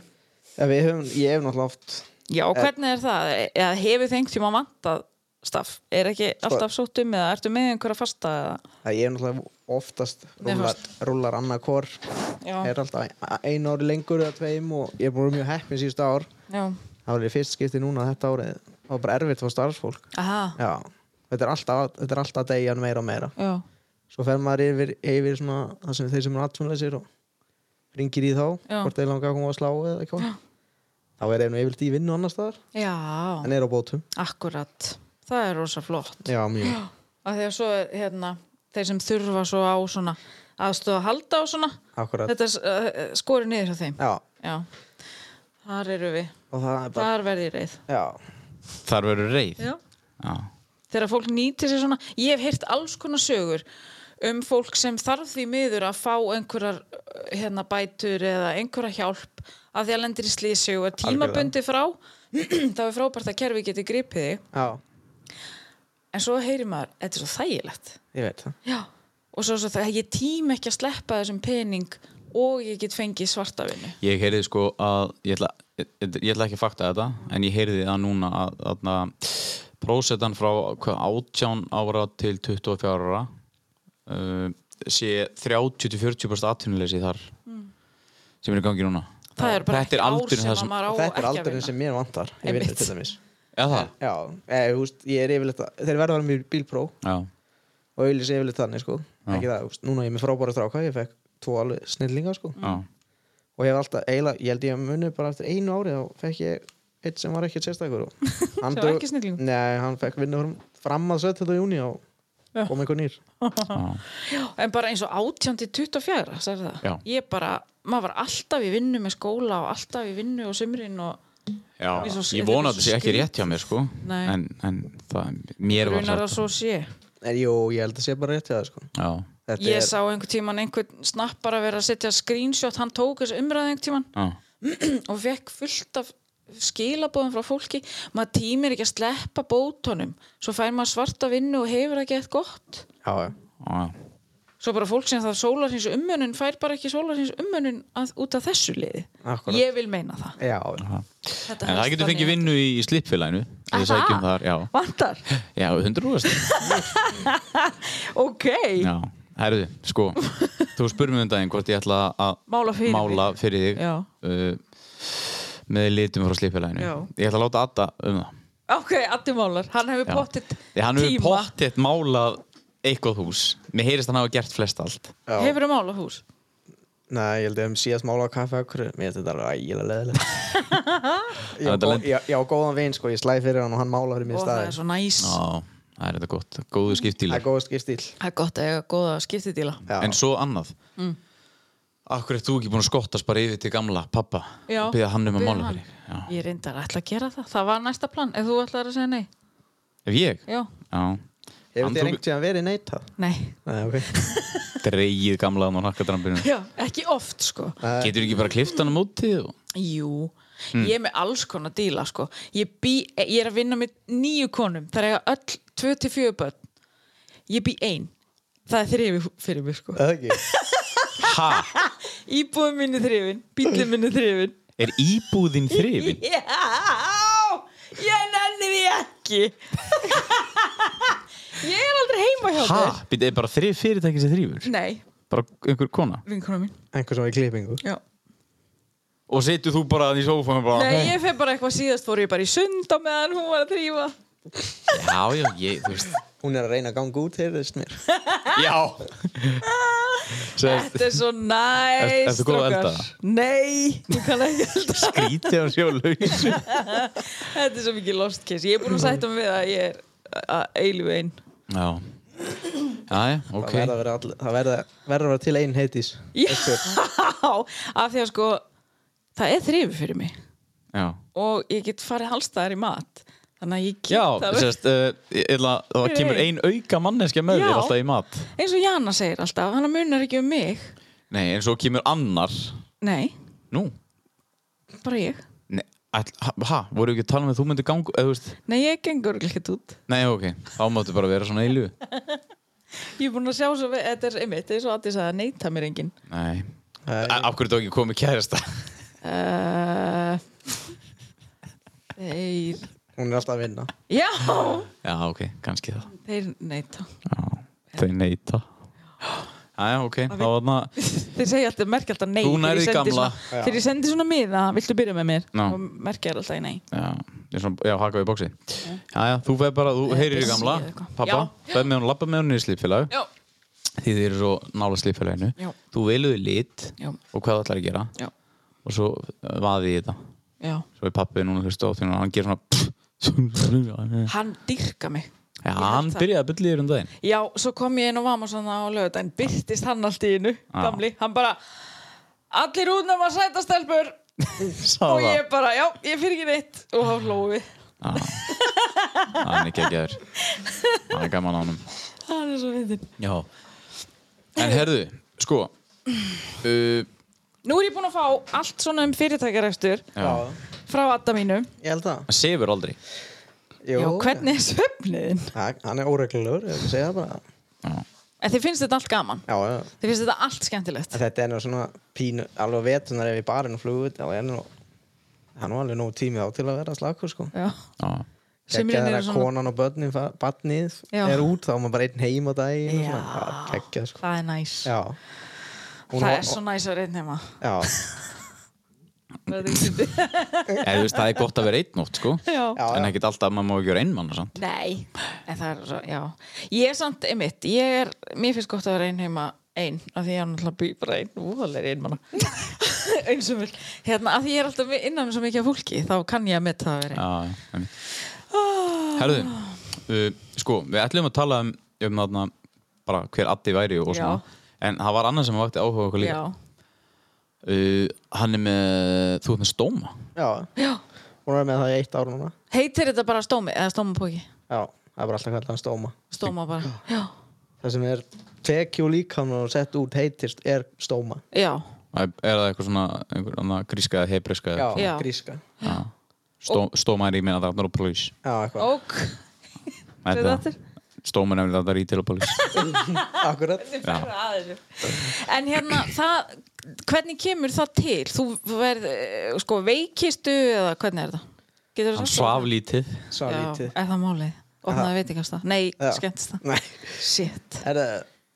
D: Ja, við höfum, ég hef náttúrulega oft,
C: Já,
D: Eh,
C: hvernig er það? Eða hefur þengt tíma vantað staff? Er ekki
D: Sko-
C: alltaf sótt um eða ertu með einhverja fasta? eða-
D: að ég hef náttúrulega oftast
C: Nei,
D: rúlar, rúlar annað hvor.
C: Já,
D: Er alltaf einu ári lengur eða tveim og ég er búin að vera mjög heppin síðustu ár.
C: já,
D: Það var í fyrst skipti núna þetta árið. Það var bara erfitt fyrir starfsfólk.
C: aha,
D: Já, þetta er alltaf, þetta er alltaf degjan meira og meira.
C: já,
D: Svo fer maður yfir, yfir svona, það sem þeir sem eru atvinnuleysir og ringir í þá,
C: Já.
D: hvort þeir langa að koma að slá eða eitthvað. Þá er einu yfirlt í vinnu annars staðar,
C: já,
D: en er á bótum.
C: akkurat Það er rosa flott
D: Já, mjög.
C: að því að svo er hérna þeir sem þurfa svo á svona aðstöð að halda á svona
D: Akkurat.
C: þetta uh, skori niður hjá þeim
D: Já,
C: já, þar eru við
D: og það er bara,
C: þar verði ég reið
D: já,
A: Þar verður reið
C: já.
A: Já,
C: þegar fólk nýtir sér svona ég hef heyrt alls konar sögur um fólk sem þarf því miður að fá einhverjar uh, hérna bætur eða einhverja hjálp að því að lendir í slísi og er tímabundi frá [CLEARS THROAT] þá er frábært að kerfi geti gripið þig
D: já,
C: en svo heyrir maður, þetta er svo þægilegt
D: ég veit það.
C: Já, og svo, svo það, ég tím ekki að sleppa þessum pening og ég get fengið svarta vinnu.
A: ég heyrði sko að ég ætla, ég, ég ætla ekki að fakta þetta en ég heyrði að núna að, aðna, prósetan frá hvað, 18 ára til 24 ára uh, sé 30-40% atvinnuleysi þar sem er í gangi núna
C: Mm. Það er bara
A: Þetta
C: ekki
A: er aldurinn það
C: ár sem að
A: sem-
C: maður á
D: Þetta er
C: ekki að
D: aldurinn
C: vinna.
D: sem mér vantar, ég
C: Einmitt.
D: vinn til dæmis.
A: Já það?
D: Já, eða, þú veist, ég er yfirleitt, að- þeir verða að vera mér bílpró
A: Já,
D: og auðvitað yfirleitt þannig, sko.
A: Já.
D: Ekki það, þú veist, núna er ég með frábæra stráka, ég fekk tvo alveg snillinga,
C: Mm.
D: sko.
A: já,
D: og ég hef alltaf, eiginlega, ég held ég að muni bara eftir einu ári þá fekk ég eitt sem var ekkert sérstakur og hann
C: [LAUGHS] Sem var
D: dró-
C: ekki snillingur?
D: Nei, hann fekk vinnu fram, fram að 17. júni og kom einhver nýr
A: já.
C: En bara eins og 18 til 24, sagði það.
A: Já.
C: Ég bara, maður var alltaf í vinnu með skóla og alltaf í vinnu og sumrin og
A: já.
C: Ég er svo-
A: Ég vona að
C: þetta er svo
A: þetta sé ekki
C: skrýtið.
A: rétt hjá mér sko
C: Nei.
A: en, en það, mér var
C: grunar að
A: sagt
C: svo sé.
D: en jú, ég held að sé bara rétt hjá það sko
A: Já,
D: þetta
C: Ég
D: er,
C: sá einhvern tíman einhvern snapp bara vera að setja screenshot, hann tók þessu umræði einhvern tíman
A: já,
C: og fekk fullt af skilabóðum frá fólki maður tímir ekki að sleppa bótunum svo fær maður svarta vinnu og hefur ekki eitt gott
D: já, já,
A: já
C: svo bara fólk sem það sólarhins umönun fær bara ekki sólarhins umönun að, út af þessu liði
D: Akkúrat.
C: ég vil meina það
D: já,
A: Aha.
C: Þetta
A: En það
C: helst
A: getur
C: þannig
A: fengið
C: að-
A: vinnu í, í slipfélaginu
C: Aha.
A: Ég sækjum þar, já
C: vantar,
A: Já, 100%
C: ok
A: Já, herðu, sko Þú spurði mig um daginn hvort ég ætla að
C: Mála fyrir
A: mála
C: þig.
A: fyrir þig
C: Já.
A: uh, með litum frá slipfélaginu
C: Já.
A: Ég ætla að láta Adda um það
C: ok, Addi Málar, hann hefur
A: Já.
C: pottitt
A: Því Hann hefur
C: tíma
A: pottitt málað eitthvað hús Mér heyrist hann hafa gert flest allt
D: já.
C: hefur að mála hús
D: Nei, ég held ég um síðast mála á kaffe akkur mér finnst þetta alveg
C: [LAUGHS]
D: ægilega leðilegt ég, á
A: Þetta
D: gó-
A: lent-
D: ég, ég á góðan vin sko, ég slæði fyrir hann og hann mála fyrir mér
C: og það
D: staði
C: er svo næs
A: Já, það er þetta gott, góðu
D: það
A: skiptílar
D: er góð skýr stíl
C: það er gott að eiga góða skiptidíla
D: já,
A: En svo annað
C: Mm.
A: Akkur er þú ekki búin að skottast bara yfir til gamla pappa
C: Já,
A: og byggja hann um að
C: biðja
A: mála
C: hann.
A: fyrir þig? Já.
C: ég reyndar að ætla að gera það, það var næsta plan ef þú ætlar að segja nei
A: Ef ég?
C: já,
A: Já
D: hefur
A: Hann
D: þér
A: tók-
D: einhvern tíðan verið neitað?
A: [LAUGHS]
C: nei
D: Nei, ok
A: Dreigið gamlaðan á nakkadrambinu
D: [LAUGHS]
C: Já, ekki oft sko
A: Getur ekki bara kliftan á móti og...
C: Jú,
A: Hmm.
C: ég er með alls konar díla sko. ég, bý, ég er að vinna með nýju konum, það er eiga öll 24 börn ég bý ein það er þrifið fyrir mig
D: [LAUGHS]
C: sko.
D: Eða ekki?
A: Ha?
C: íbúðum minni þrifin, bílum minni þrifin
A: Er íbúðin þrifin?
C: já ég nenni því ekki ég er aldrei heima hjá
A: Ha?
C: þér
A: Býttu, er bara þrif fyrirtæki sem þrifur?
C: nei,
A: Bara einhver kona?
C: vinkona mín
D: Einhver sem er í klippingu
C: já
A: Og setur þú bara að því sófum bara
C: Nei, ég feg bara eitthvað síðast fór ég bara í sund á meðan hún var að þrýfa
A: Já, já, ég, þú veist
D: Hún er að reyna að ganga út, heyrðist mér
A: Já [LAUGHS] Sest,
C: Þetta er svo næs
A: Ert- ertu góð að
C: strákar.
A: elda?
C: Nei, ég kann ekki elda
A: skrítið hann sjá laus
C: Þetta er svo mikið lost case Ég er búin að sætta mig við að ég er að eilu einn
A: Já Jæja, ok
D: Það verða að vera, all, það verða, verða að vera til ein heitis
C: Já, af því að sko Það er þrýfi fyrir mig
A: Já,
C: Og ég get farið halstaðar í mat Þannig að ég get
A: já
C: það
A: sest, uh, ég, ætla, það
C: Fyrir
A: kemur ein
C: ein.
A: auka manneskja með
C: Já.
A: þér alltaf í mat
C: Eins og Jana segir alltaf, hann munar ekki um mig
A: Nei, en svo kemur annar
C: Nei,
A: Nú,
C: bara ég
A: Nei, ætl, ha, ha, voru ekki að tala með þú myndir gangu eða, þú veist,
C: Nei, ég gengur ekkert út
A: Nei, ok, þá máttu bara vera svona eilu
C: Ég er búin að sjá svo, við- þetta er einmitt Þetta er svo að þess að neita mér enginn
A: Nei,
D: Nei.
A: A- af hverju þú ekki komið kærasta
C: Uh, þeir
D: Hún er alltaf að vinna
C: Já
A: Já, ok, kannski það
C: Þeir neita
A: Já, þau neita Jæja, ok, þá var það
C: Þeir segja alltaf, merkja alltaf nei
A: Þú
C: þegar ég
A: nærð í
C: sendi
A: gamla.
C: svona,
D: Já.
C: Þegar ég sendi svona miða, viltu byrja með mér
A: Já.
C: og merkja þér alltaf í nei
A: Já, ég er svona, já, haka við bóksi Jæja, þú veið bara, þú heyrir í
C: busy
A: gamla
C: eða eitthvað.
A: Pappa, veið með hún, lappa með hún í slípfélag
C: Já,
A: Því þið eru svo nála slípfélaginu
C: Já.
A: Þú veluði lit
C: Já.
A: og hvað það ætlar að gera
C: já,
A: Og svo eh, vaði ég þetta
C: já
A: Svo er pappi núna hlustu á því og hann gerir svona
C: Hann dyrka mig
A: Já,
C: held
A: hann
C: það.
A: byrjaði að byrja yfir um daginn
C: Já, svo kom ég inn og vama svona á lögudaginn Byrtist hann allt í innu, gamli Hann bara, allir út nema sæta stelpur
A: Sá
C: Og
A: það
C: ég bara, já, ég fyrir ekki neitt Og hann hlófi
A: Hann er geggjaður Hann er gaman á honum
C: Hann er svo fyndin
A: Já En herðu, sko uh,
C: Nú er ég búin að fá allt svona um fyrirtækjarekstur
A: já.
C: frá Adda mínu
D: Ég held það
A: Hann sefur aldrei
D: Jú,
C: Já, hvernig er svefniðin?
D: Ha, Hann er óreglulegur, ég vil segja það bara
A: já.
C: En þið finnst þetta allt gaman
D: Já, já
C: Þið finnst þetta allt skemmtilegt
D: En Þetta er nú svona pínu, alveg vetunar ef í barinn og flugur þá er nú, hann var alveg nóg tími þá til að vera slakur sko.
C: Já
A: Já.
C: Sumrin
D: Geggjað er
C: eru
D: að
C: svona-
D: konan og börnin, fa- barnið
C: Já.
D: er út, þá er maður bara einn heim á daginn og
C: Já.
D: svona, það er geggjað sko.
C: Það er næs
D: Já. Hún
C: Það
D: var-
C: er svo næs að reyna
D: [LAUGHS]
C: heima
D: Já,
A: Eða, þú veist, Það er gott að vera einn nótt sko
C: Já
D: já,
A: En
D: já.
A: ekkert alltaf að maður má ekki vera einmann og samt
C: Nei En það er svo, já Ég er samt, einmitt Ég er, mér finnst gott að vera einn heima Einn Af því ég er náttúrulega bý bara einn Vóðalega einn manna [LAUGHS] Eins og vil Hérna, af því ég er alltaf innan um svo mikið af fólki Þá kann ég að metta það að vera
A: Já,
C: einn
A: já Herðu, uh, sko, við ætlum að tala um, um þarna, bara hver Addi væri og svona En það var annað sem vakti áhuga okkur líka
C: Já
A: uh, Hann er með, þú ert með stóma
D: já,
C: Já
D: hún var með það í eitt ár núna.
C: Heitir þetta bara stómi Eða stómapóki
D: Já, það er bara alltaf kallað stóma.
C: Stóma bara Já
D: Það sem er tekju líkamann og sett út heitist er stóma.
C: Já
A: Er er það eitthvað svona einhver, anna, gríska eða hebreska?
D: Já,
A: eða-
C: Já.
D: gríska.
A: Já. Stó, stóma er í minna þarna og polís.
D: Já, eitthvað.
C: Ok [LAUGHS]
A: Þetta-
C: Segðu aftur.
A: Stóma er í þarna rítil og polís.
D: Akkurat.
C: Fara að þessu. En hérna, það, hvernig kemur það til? Þú verð, eh, sko, veikistu eða hvernig er það? Getur
A: Hann svaf lítið.
D: Sá lítið.
C: Já, er það málið? Opnaði veitingasta? Nei,
D: Já.
C: skemmtista.
D: Nei,
C: Shit,
D: herra,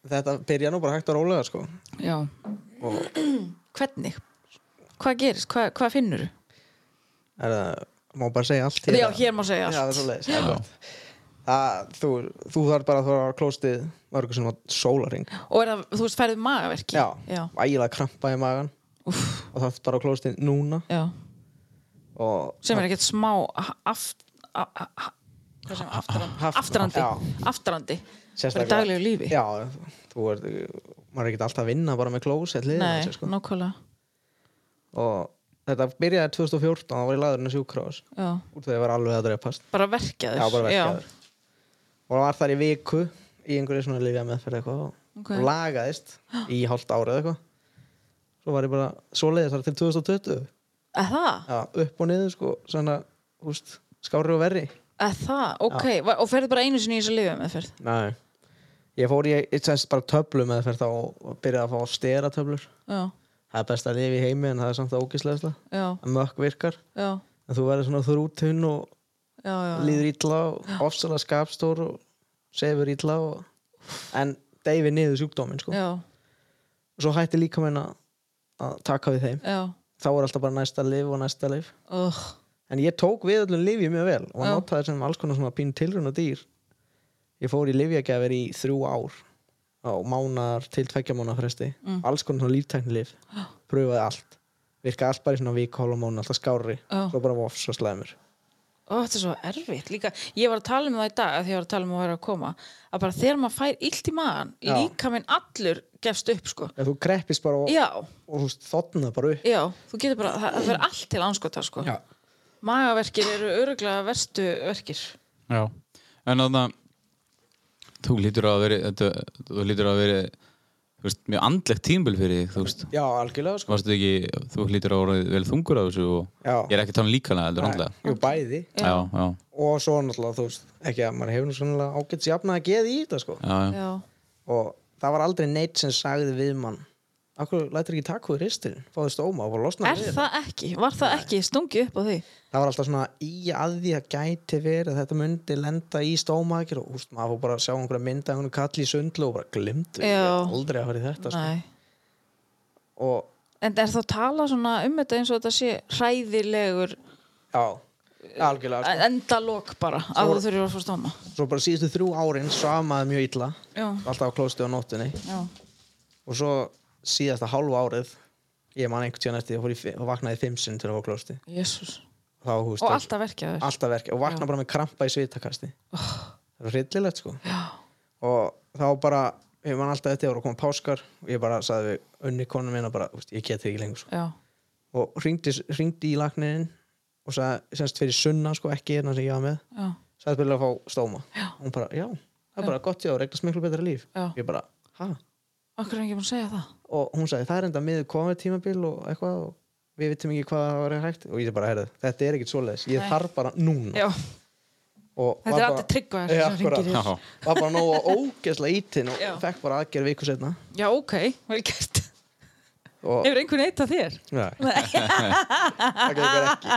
D: þetta byrja nú bara hægt og rólega sko.
C: já. [CLEARS THROAT] Hvernig? Hvað gerist? Hva, hvað finnur þú?
D: Er það, má bara segja allt hérna?
C: Já, hér má segja
D: Já, það er
C: allt.
D: svoleiðis, það er gott. Það- þú, þú þarf bara að þú að klóstið mörgur sem var sólaring
C: Og er það, þú veist, færðu magaverki?
D: Já,
C: Já,
D: ægilega krampa í magan
C: Úff.
D: og það þarf bara að klóstið núna
C: já.
D: og
C: Sem er ekkert smá ha- aft... a- a- ha- Hvað sem afturandi?
D: haft-
C: Afturandi.
D: Já.
C: Afturandi. Bara í daglegu lífi.
D: Já, þú er, maður er ekkert alltaf að vinna bara með klósið liðið
C: Nei,
D: þessi, sko.
C: nákvæmlega.
D: og þetta byrjaði 2014 það var í laðurinn að sjúkrás
C: Já.
D: út þegar ég var alveg að dreipast
C: Bara verkjaður.
D: Já, bara verkjaður og það var þar í viku í einhverju svona lifja meðferð eitthvað og
C: Ok.
D: og lagaðist í hálft árið eitthvað svo var ég bara svoleiðis þar til 2020
C: Að það?
D: ja, upp og niður sko svona, húst, skári og verri
C: Að það? Ok, Va- og ferðu bara einu sinni í þessu lifið með fyrr?
D: Nei. ég fór í eitt sens bara töflu með þér þá og byrjaði að fá að stera töflur
C: Já,
D: það er best að lifa í heimi en það er samt það ógislega
C: já,
D: að mökk virkar
C: já,
D: en þú verður svona þrútun og
C: já, já.
D: líður illa og ofsalega skapstór og sefur illa og... en deyfi niður sjúkdómin sko.
C: Já,
D: og svo hætti líka meina að taka við þeim
C: já,
D: þá er alltaf bara næsta liv og næsta liv
C: oh,
D: en ég tók við öllum livjum mjög vel og
C: Já.
D: notaði sem alls konar svona pín tilruna dýr ég fór í livjagjafir í þrjú ár á mánar til tveggja mánar fresti
C: Mm.
D: alls konar svona líftækni liv pröfaði allt, virkaði allt bara í svona vik hóla mánu, alltaf skárri
C: Já.
D: svo bara voff svo slæmur
C: Ó, þetta er svo erfitt líka. Ég var að tala um það í dag að því ég var að tala um að vera að koma að bara þegar maður fær illt í magan
D: Já.
C: líka minn allur gefst upp sko.
D: ef þú kreppist bara og,
C: Já,
D: og þú þotnaði bara upp
C: já, þú getur bara það, það fer allt til anskota sko.
D: Já.
C: Magaverkir eru öruglega verstu verkir.
A: Já, en þannig að þú lítur að veri þetta, þú lítur að veri þú veist, mjög andlegt tímbil fyrir þig, þú veist
D: Já, algjörlega sko
A: varstu ekki, þú lítur að orðið vel þungur af þessu og
D: Já.
A: ég er ekki að tala um líkana heldur andlega
D: Jú, bæði
A: já, já,
D: og svo náttúrulega, þú veist, ekki að maður hefur nú svona ágætt jafnað að geða í þetta sko
A: já, já,
C: Já,
D: og það var aldrei neitt sem sagði við mann Akkur lætur ekki taka úr ristin Fáðu stóma og bara losna
C: er það ekki? Var það ekki? Stungi upp á því?
D: Það var alltaf svona í að því að gæti verið að Þetta myndi lenda í stómaðkir Og úst, maður fór bara að sjá einhverja mynda Einhvern kall í sundlu og bara glimtu Ég
C: Já.
D: hef aldrei að fara í þetta sko.
C: Nei.
D: Og
C: En er þá tala svona um þetta eins og þetta sé hræðilegur
D: já, algjörlega sko.
C: endalok bara að þú þurfir að fá stóma?
D: Svo bara síðustu þrjú árin svamaði mjög illa
C: Já,
D: Alltaf á klósti á nóttunni
C: já,
D: Og svo síðasta hálfu árið Ég man einhvern tíðan eftir ég fór í fi- og vaknaði fimm sinn til að fá klósti
C: jésús.
D: Þá, húst,
C: Og alltaf verkja þér?
D: alltaf verk og vakna bara með krampa í svitakasti það er hryllilegt sko
C: Oh. Já,
D: og þá bara, ég man alltaf þetta ég voru að koma páskar og ég bara sagði við unni konum minna bara, úst, ég geti ekki lengur sko.
C: já,
D: og hringdi, hringdi í lagnin og sagði, semst fyrir sunna sko, ekki hérna sem ég hafa með
C: já,
D: sagði byrja að fá stóma já. hún bara, já, það er bara gott já, regnast miklu betra líf
C: Já.
D: ég bara, hæ?
C: okkur er ekki búin að segja það
D: og hún sagði, það er enda miður komið tímabil og eitthvað og við vitum ekki hvað það var hægt og ég bara, heyrðu, þetta er ekkit svoleiðis ég
C: Nei.
D: þarf bara núna
C: Já,
D: Og
C: Þetta
D: var
C: er
D: bara-
C: Addi Tryggva
D: Já,
C: sem hringir í
D: akkurat.
A: þér.
D: [LAUGHS] var bara nógu ógeðslega ítinn og
C: Já.
D: fekk bara aðgerð viku setna
C: já ok, vel gert
D: og
C: Hefur einhvern eitt af þér?
D: Nei. það gengur ekki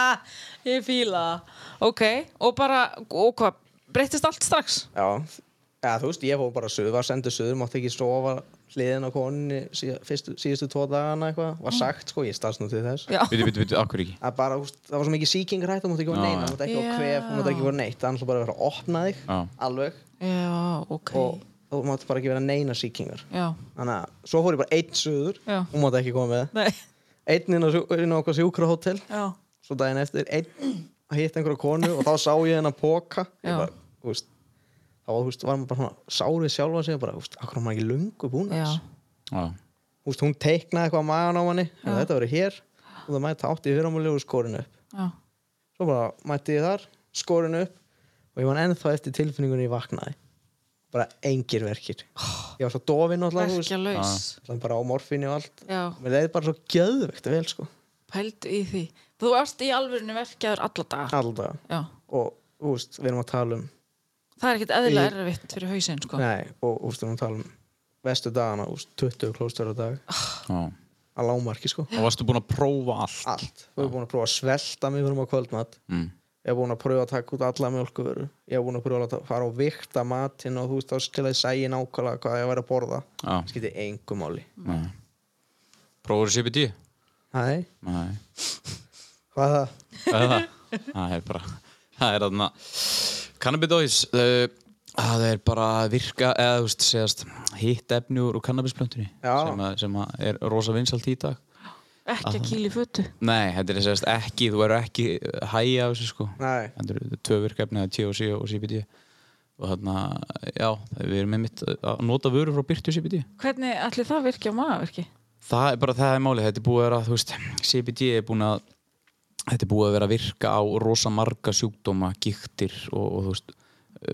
C: [LAUGHS] Ég fíla það Ok, og bara, og hvað, breyttist allt strax?
D: já, ja, þú veist, ég fór bara suður var sendur suður, mátti ekki sofa hliðin á konunni síða, fyrstu, síðustu tvo dagana eitthvað,
C: Mm.
D: var sagt sko, ég stans nú til þess
C: Já,
A: býtu, býtu, býtu, akkur ekki
D: að bara, þú veist, það var svo mikið sýkingarætt það mátti ekki
A: Já,
D: vera neina,
A: já.
D: það mátti ekki vera
C: Já.
D: kvef það mátti ekki vera neitt, það ætla bara að vera að opna þig
A: Já.
D: alveg
C: já, ok
D: og þú mátti bara ekki vera neina sýkingar
C: Já,
D: þannig að svo fór ég bara einn suður
C: Já.
D: hún mátti ekki koma með
C: nei,
D: einn inn á, sjú- inn á okkar sjúkrahótel
C: já,
D: svo daginn eftir einn að hitta einhverja konu og þá sá ég hennar póka
C: Já.
D: ég bara, þú veist þá var, þú veist, var maður bara svona sárið sjálfa sig og bara, þú veist, akkur er maður ekki lungu búin
C: já
A: já,
D: þú veist, hún teiknaði eitthvað á magan á manni og þetta verið hér og það mætti átti í fyrramúli og skorinu upp
C: Já,
D: svo bara mætti ég þar, skorinu upp og ég var ennþá eftir tilfinningunni ég vaknaði bara engir verkir ég var svo dofin alltaf, þú veist
C: verkja laus
D: alltaf bara á morfinni og allt
C: Já,
D: mér leiði bara svo gjöðvegt vel sko,
C: pældu í því Þú varst í alvörinu verkjaður alla daga
D: alltaf
C: Já,
D: og, þú veist, við erum að tala um
C: það er ekkert eðlilega erfitt fyrir hausinn sko
D: Nei, og úrstu, hún tala um vestu dagana, úrstu, 20 klóstur á dag
A: já
D: að lágmarki, sko
A: og varstu búin að prófa allt
D: allt, við erum búin að prófa að svelta mig við erum á kvöldmat,
A: mm.
D: ég er búin að prófa að taka út alla mjölkuvöru, ég er búin að prófa að ta- fara og vikta matinn og þú veist, þá til að ég sæi nákvæmlega hvað ég væri að borða
A: já,
D: skipti engu máli
A: nei prófaðu CBD?
D: Nei,
A: nei,
D: hvað er það?
A: það er það það er bara, það er þarna cannabidóis uh, það er bara að virka eða þú veist, segjast, hitt efni úr úr cannabisplöntunni
D: Já.
A: sem, að, sem að er rosa vinsalt í dag
C: Ekki að kýla í fötu
A: Nei, þetta er sérst ekki, þú verður ekki hægja á þessu sko
D: Nei,
A: Þetta eru tvö virkefni, það er THC og CBD og þarna, já, við erum með mitt að nota vöru frá Byrtu CBD
C: Hvernig ætli það virki á magaverki?
A: Það er bara það er málið, þetta er búið að vera, þú veist CBD er búin að þetta er búið að vera að virka á rosa marga sjúkdóma, gíktir og, og þú veist,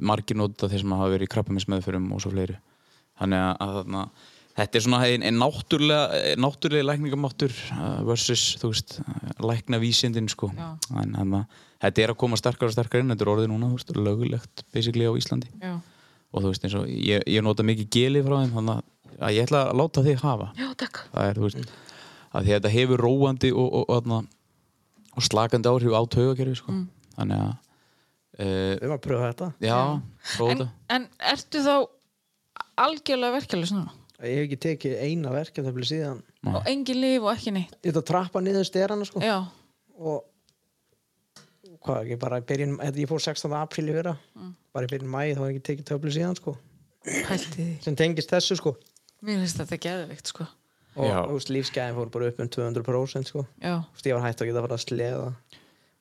A: margir nota þeir sem hafa verið í krabbaminsmeðförum og svo fleiri þannig að, að þarna, Þetta er svona ein, ein náttúrulega, eh, náttúrulega lækningamáttur uh, versus, þú veist, eh, læknavísindin, sko.
C: Já.
A: En, en það, þetta er að koma sterkar og sterkar inn, þetta er orðið núna, þú veist, lögulegt, basically, á Íslandi.
C: Já.
A: Og þú veist, eins og, ég, ég nota mikið geli frá þeim, þannig að- að ég ætla að láta þig hafa.
C: Já, takk.
A: það er, þú veist, að því að þetta hefur róandi og, og, og, og, og slakandi áhrif á taugakerfi, sko. Þannig að, uh,
D: Við erum að pröfa þetta
A: já, prófa
C: En,
A: þetta.
C: en ertu þá algjörlega verkeflega svona?
D: Ég hef ekki tekið eina verkefni síðan
A: Nei.
C: Og engin líf og ekki neitt.
D: Þetta trappa niður sterana sko
C: Já.
D: og hvað, ég bara í byrjun, þetta- ég fór 16. apríl í fyrra
C: Mm.
D: bara í byrjun mæði þá hef ég ekki tekið töflu síðan sko
C: Pælti því.
D: sem tengist þessu sko
C: Mér finnst þetta geðveikt, sko.
D: og
A: Já.
D: þú veist, lífsgæðin fór bara upp um 200% sko Þú
C: Já.
D: veist, ég var hægt að geta að fara að sleða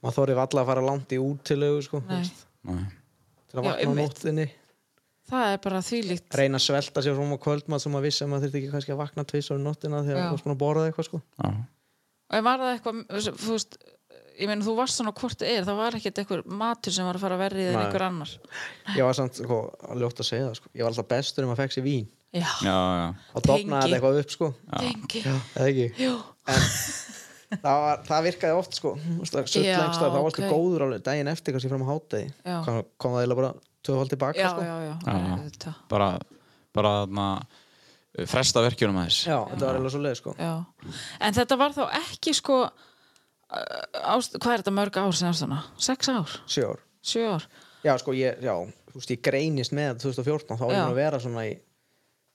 D: maður þorði alltaf að fara langt í útilegu sko þú
C: Nei.
D: veist,
A: Nei.
D: til að
C: Já,
D: vakna á
C: einmitt.
D: nóttinni
C: Það er bara þvílíkt.
D: reyna að svelta sér fram á kvöldmað sem maður vissi að maður þurfti ekki kannski að vakna tvis á nóttina þegar
C: Já.
D: maður var svona að borða eitthvað sko
A: Já.
C: Og ef var það eitthvað, þú veist, ég meina þú varst svona hvort eð er, það var ekkert eitthvað matur sem var að fara að verrið en
D: Nei.
C: einhver annar.
D: ég var samt sko, ljótt að segja það sko ég var alltaf bestur um að fekk sér vín
C: Já.
A: Já, já.
D: og dofnaði
C: Tengi.
D: þetta eitthvað upp sko
C: Tengi.
D: eða ekki
C: Jú.
D: það, var, það virkaði oft sko suttlængst
C: Já,
D: það var
C: ok.
D: alltaf góður alveg daginn eftir kannski fram á hátegi
C: Já.
D: kom, kom það eða bara tvöfald tilbaka
C: Já,
D: sko.
C: já, já.
A: Já.
C: auðvitað.
A: Bara, bara, þarna, e, fresta verkjunum aðeins.
D: Já, þetta var eða svo leið sko
C: Já. En þetta var þá ekki sko, uh, ást, hvað er þetta mörg ár sem ástana? Sex ár?
D: sjór
C: Sjö ár?
D: já sko ég, já, þú veist ég greinist með þetta 2014 þá var
C: Já.
D: ég búinn að vera svona í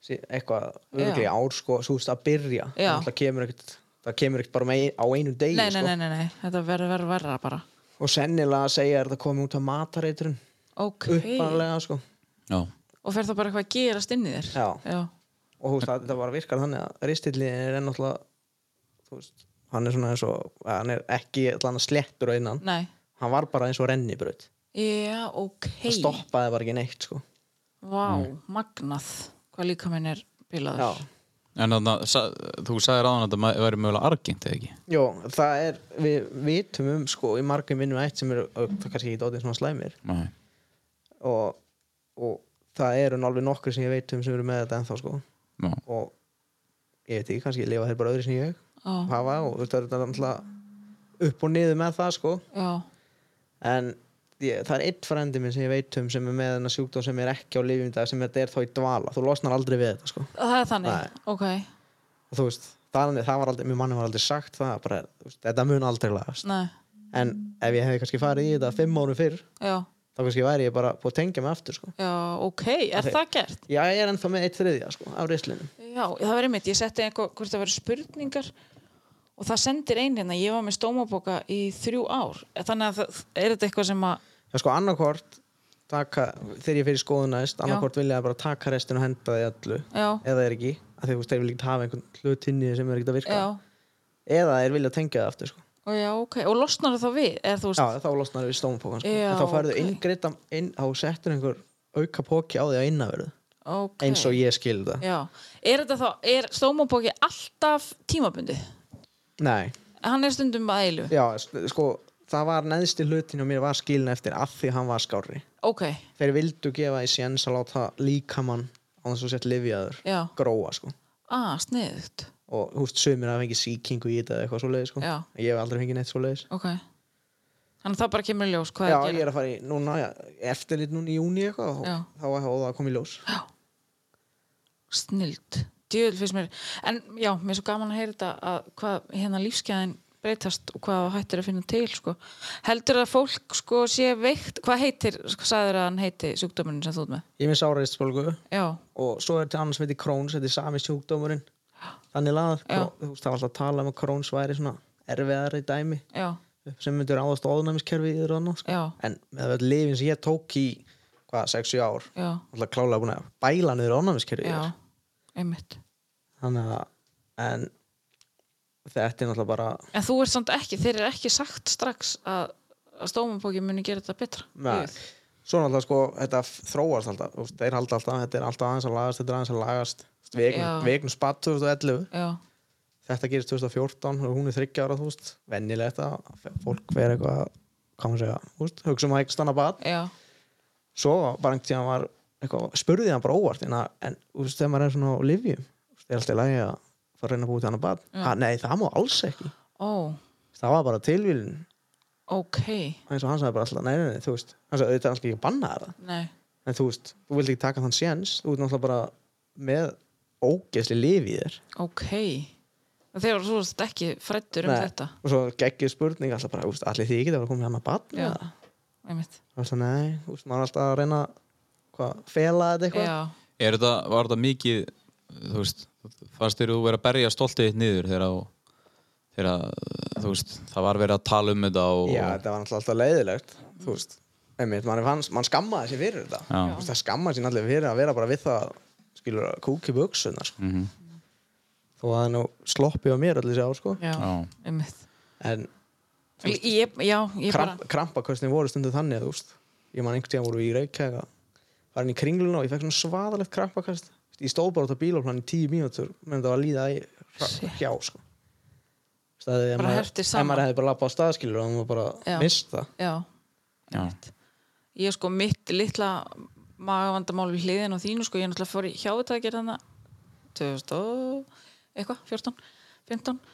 D: sí- eitthvað örgli
C: Já.
D: ár sko svo þú veist að byrja
C: Já.
D: það kemur ekkert það kemur ekkert bara með, ein- á einu degi
C: Nei, nei,
D: sko.
C: nei, nei, nei, þetta verður verður verra bara.
D: og sennilega að segja er það komið út af matareitrun
C: Ok.
D: uppanlega sko
A: Já.
C: Og fer það bara eitthvað að gerast inn í þér?
D: Já.
C: Já.
D: og þú veist að þetta var virkar þannig að ristillin er ennáttúrulega þú veist, hann er svona eins og hann er ekki allan að slettur á innan
C: Nei.
D: hann var bara eins og rennibraut
C: Já, ok.
D: það stoppaði bara ekki neitt sko
C: Vá, magnað. Hvað líka minn er
D: já,
C: bilaður.
A: En þarna, sa, þú sagðir aðan að þetta ma- væri mögulega argint, eða ekki?
D: Jó, það er við vitum um sko í margum vinnum eitt sem eru, og það er kannski ekki dótið svona slæmir
A: Nei.
D: og, og það eru nú alveg nokkur sem ég veit um sem eru með þetta ennþá sko
A: Já.
D: og ég veit ekki, kannski lifa þeir bara öðru sem ég
C: Já.
D: hafa og þetta er náttúrulega upp og niður með það sko
C: Já.
D: en ég, það er einn frændi minn sem ég veit um sem er með hennar sjúkdóm sem er ekki á lifjum í dag sem þetta er þá í dvala, þú losnar aldrei við þetta sko.
C: Það er þannig.
D: Nei.
C: Ok.
D: og þú veist, þannig, það var aldrei, mér manni var aldrei sagt það, bara, þú veist, þetta mun aldrei lagast
C: Nei.
D: en ef ég hefði kannski farið í þetta fimm árum fyrr,
C: Já.
D: þá kannski væri ég bara búið að tengja mig aftur, sko
C: Já, ok. Er
D: Ok.
C: það gert?
D: já, ég er ennþá með eitt þriðja, sko, af rislinu
C: Já, það var einmitt, ég setti einhver, hvort það verið spurningar og það sendir ein hérna, ég var með stómabóka í þrjú ár, þannig að það, er þetta eitthvað sem að,
D: já, sko, annarkvort taka, þegar ég fyrir skoðun næst annarkvort vilja bara taka restin og henda því öllu
C: já,
D: eða er ekki, að því þú veist, þeir vilja ekki hafa einhvern hlut inni sem er ekki að virka
C: já,
D: eða þeir vilja tengja það aftur, sko
C: og já, ok, og losnar það þá við, eða þú veist,
D: Já, þá losnar við stómpókan sko.
C: Já,
D: En þá færðu
C: ok.
D: okay. inngrita inn, þá settur einhver auka póki á því að innavörðu
C: ok,
D: eins og ég skil það
C: já, er þetta þá, er stómabóki alltaf tímabundið,
D: Nei,
C: hann er stundum að eilu,
D: já, s- sko það var neðsti hlutin og mér var skilin eftir af því hann var skárri
C: ok,
D: Þeir vildu gefa í séns að láta líkamann á þess að sett lifjaður
C: já,
D: gróa sko
C: ah, sniðugt,
D: og húst sumir að fengi sýkingu í þetta eða eitthvað svoleiðis sko
C: Já.
D: Ég hef aldrei fengið neitt svoleiðis
C: ok, þannig að það bara kemur í ljós, hvað
D: Já,
C: er að
D: ég
C: gera,
D: er að fara í núna, já, eftirlit núna í júni eitthvað og
C: Já.
D: þá var það að koma í ljós
C: snild, djöðl fyrst mér, en já, mér er svo gaman að heyra þetta að hvað hérna lífskeiðin breytast og hvað hættir að finna til, sko. Heldur að fólk, sko, sé veikt, hvað heitir, sko, sagður að hann heiti sjúkdómurinn sem þú ert með?
D: Ég er með sárreist
C: Já,
D: og svo er til annars veit í Crohn's þetta er sami sjúkdómurinn þannig lagað,
C: Já.
D: Kró- þú veist það var alltaf að tala um að Crohn's væri svona erfiðari dæmi
C: já,
D: sem myndur áðast óðnæmiskerfi í þér annars sko.
C: já,
D: en með öll lifin sem ég tók í hvað, 6-7 ár
C: já,
D: alltaf klálega búin að bæla niður óðnæmiskerfi
C: já, einmitt.
D: þannig að en þetta er náttúrulega bara
C: En þú ert samt ekki, þeir eru ekki sagt strax að, að stómanbóki muni gera þetta betra.
D: Nei.
C: Jú.
D: svo náttúrulega sko, þetta þróast alltaf þú veist, þeir halda alltaf, þetta er alltaf aðeins að lagast þetta er aðeins að lagast Þú veist,
C: Já.
D: vegna- vegna spatt 2011
C: Já,
D: þetta gerist 2014 og hún er 30 ára þú veist, venjilegt að f- fólk vera eitthvað, hvað maður segja þú veist, hugsa um að ekki stanna bad
C: já,
D: hérna, svo bara einhvern tíðan var eitthvað, spurði hann bara óvart en, að, en þú veist, þegar maður er svona á livjum þú veist, er alltaf í lagi að fara að reyna að búið til annar barn
C: Mm.
D: ha, nei, það má alls ekki
C: Ó,
D: það var bara tilvílun
C: ok
D: eins og hann sagði bara alltaf, nei, nei, nei, þú veist hann sagði, þetta er alltaf ekki að banna það
C: Nei,
D: en þú veist, þú vilt ekki taka þann séns þú ert náttúrulega bara með ógeðsli lif í þér
C: ok Þegar þú varst ekki frættur um
D: Nei.
C: þetta
D: og svo geggið spurning alltaf bara, úst, allir því ekki það var komið hann að batna
C: Já.
D: ja.
C: Einmitt.
D: alltaf nei, úst, maður er alltaf að reyna hvað, fela þetta eitthvað
C: Já,
A: Er þetta, var þetta mikið, þú veist, fannst þér þú verið að berja stoltið þitt niður þegar þú, þegar að, þú veist, það var verið að tala um þetta og...
D: já, þetta var náttúrulega alltaf leiðilegt þú veist, einmitt, mann, fanns, mann skammaði sér fyrir þetta
A: Já.
D: Þú veist, það skammaði sér allir fyrir að vera bara við það skilur að kúki buksuna sko.
A: Mhm.
D: þó að það nú sloppi á mér allir sér ár sko.
C: já,
A: Já.
C: einmitt
D: en
C: Ég, já, ég
D: kramp, krampaköstin voru stundu þannig þú veist. ég man einhvern tíðan voru við í Reykjavík að var inn í kringluna og ég fekk svona svaðalegt krampakast ég stóð bara út á bílóplan í tíu mínútur meðan það var að líða í hra- hjá sko. staði
C: Bara herptir saman.
D: en maður hefði bara lappað á staðskilur og maður bara
C: Já.
D: mist það
C: bara Já,
A: Já.
C: ég sko mitt litla magavandamál við hliðin og þínu sko ég náttúrulega fór í hjávitækir þannig 2000 og eitthvað, 14, 15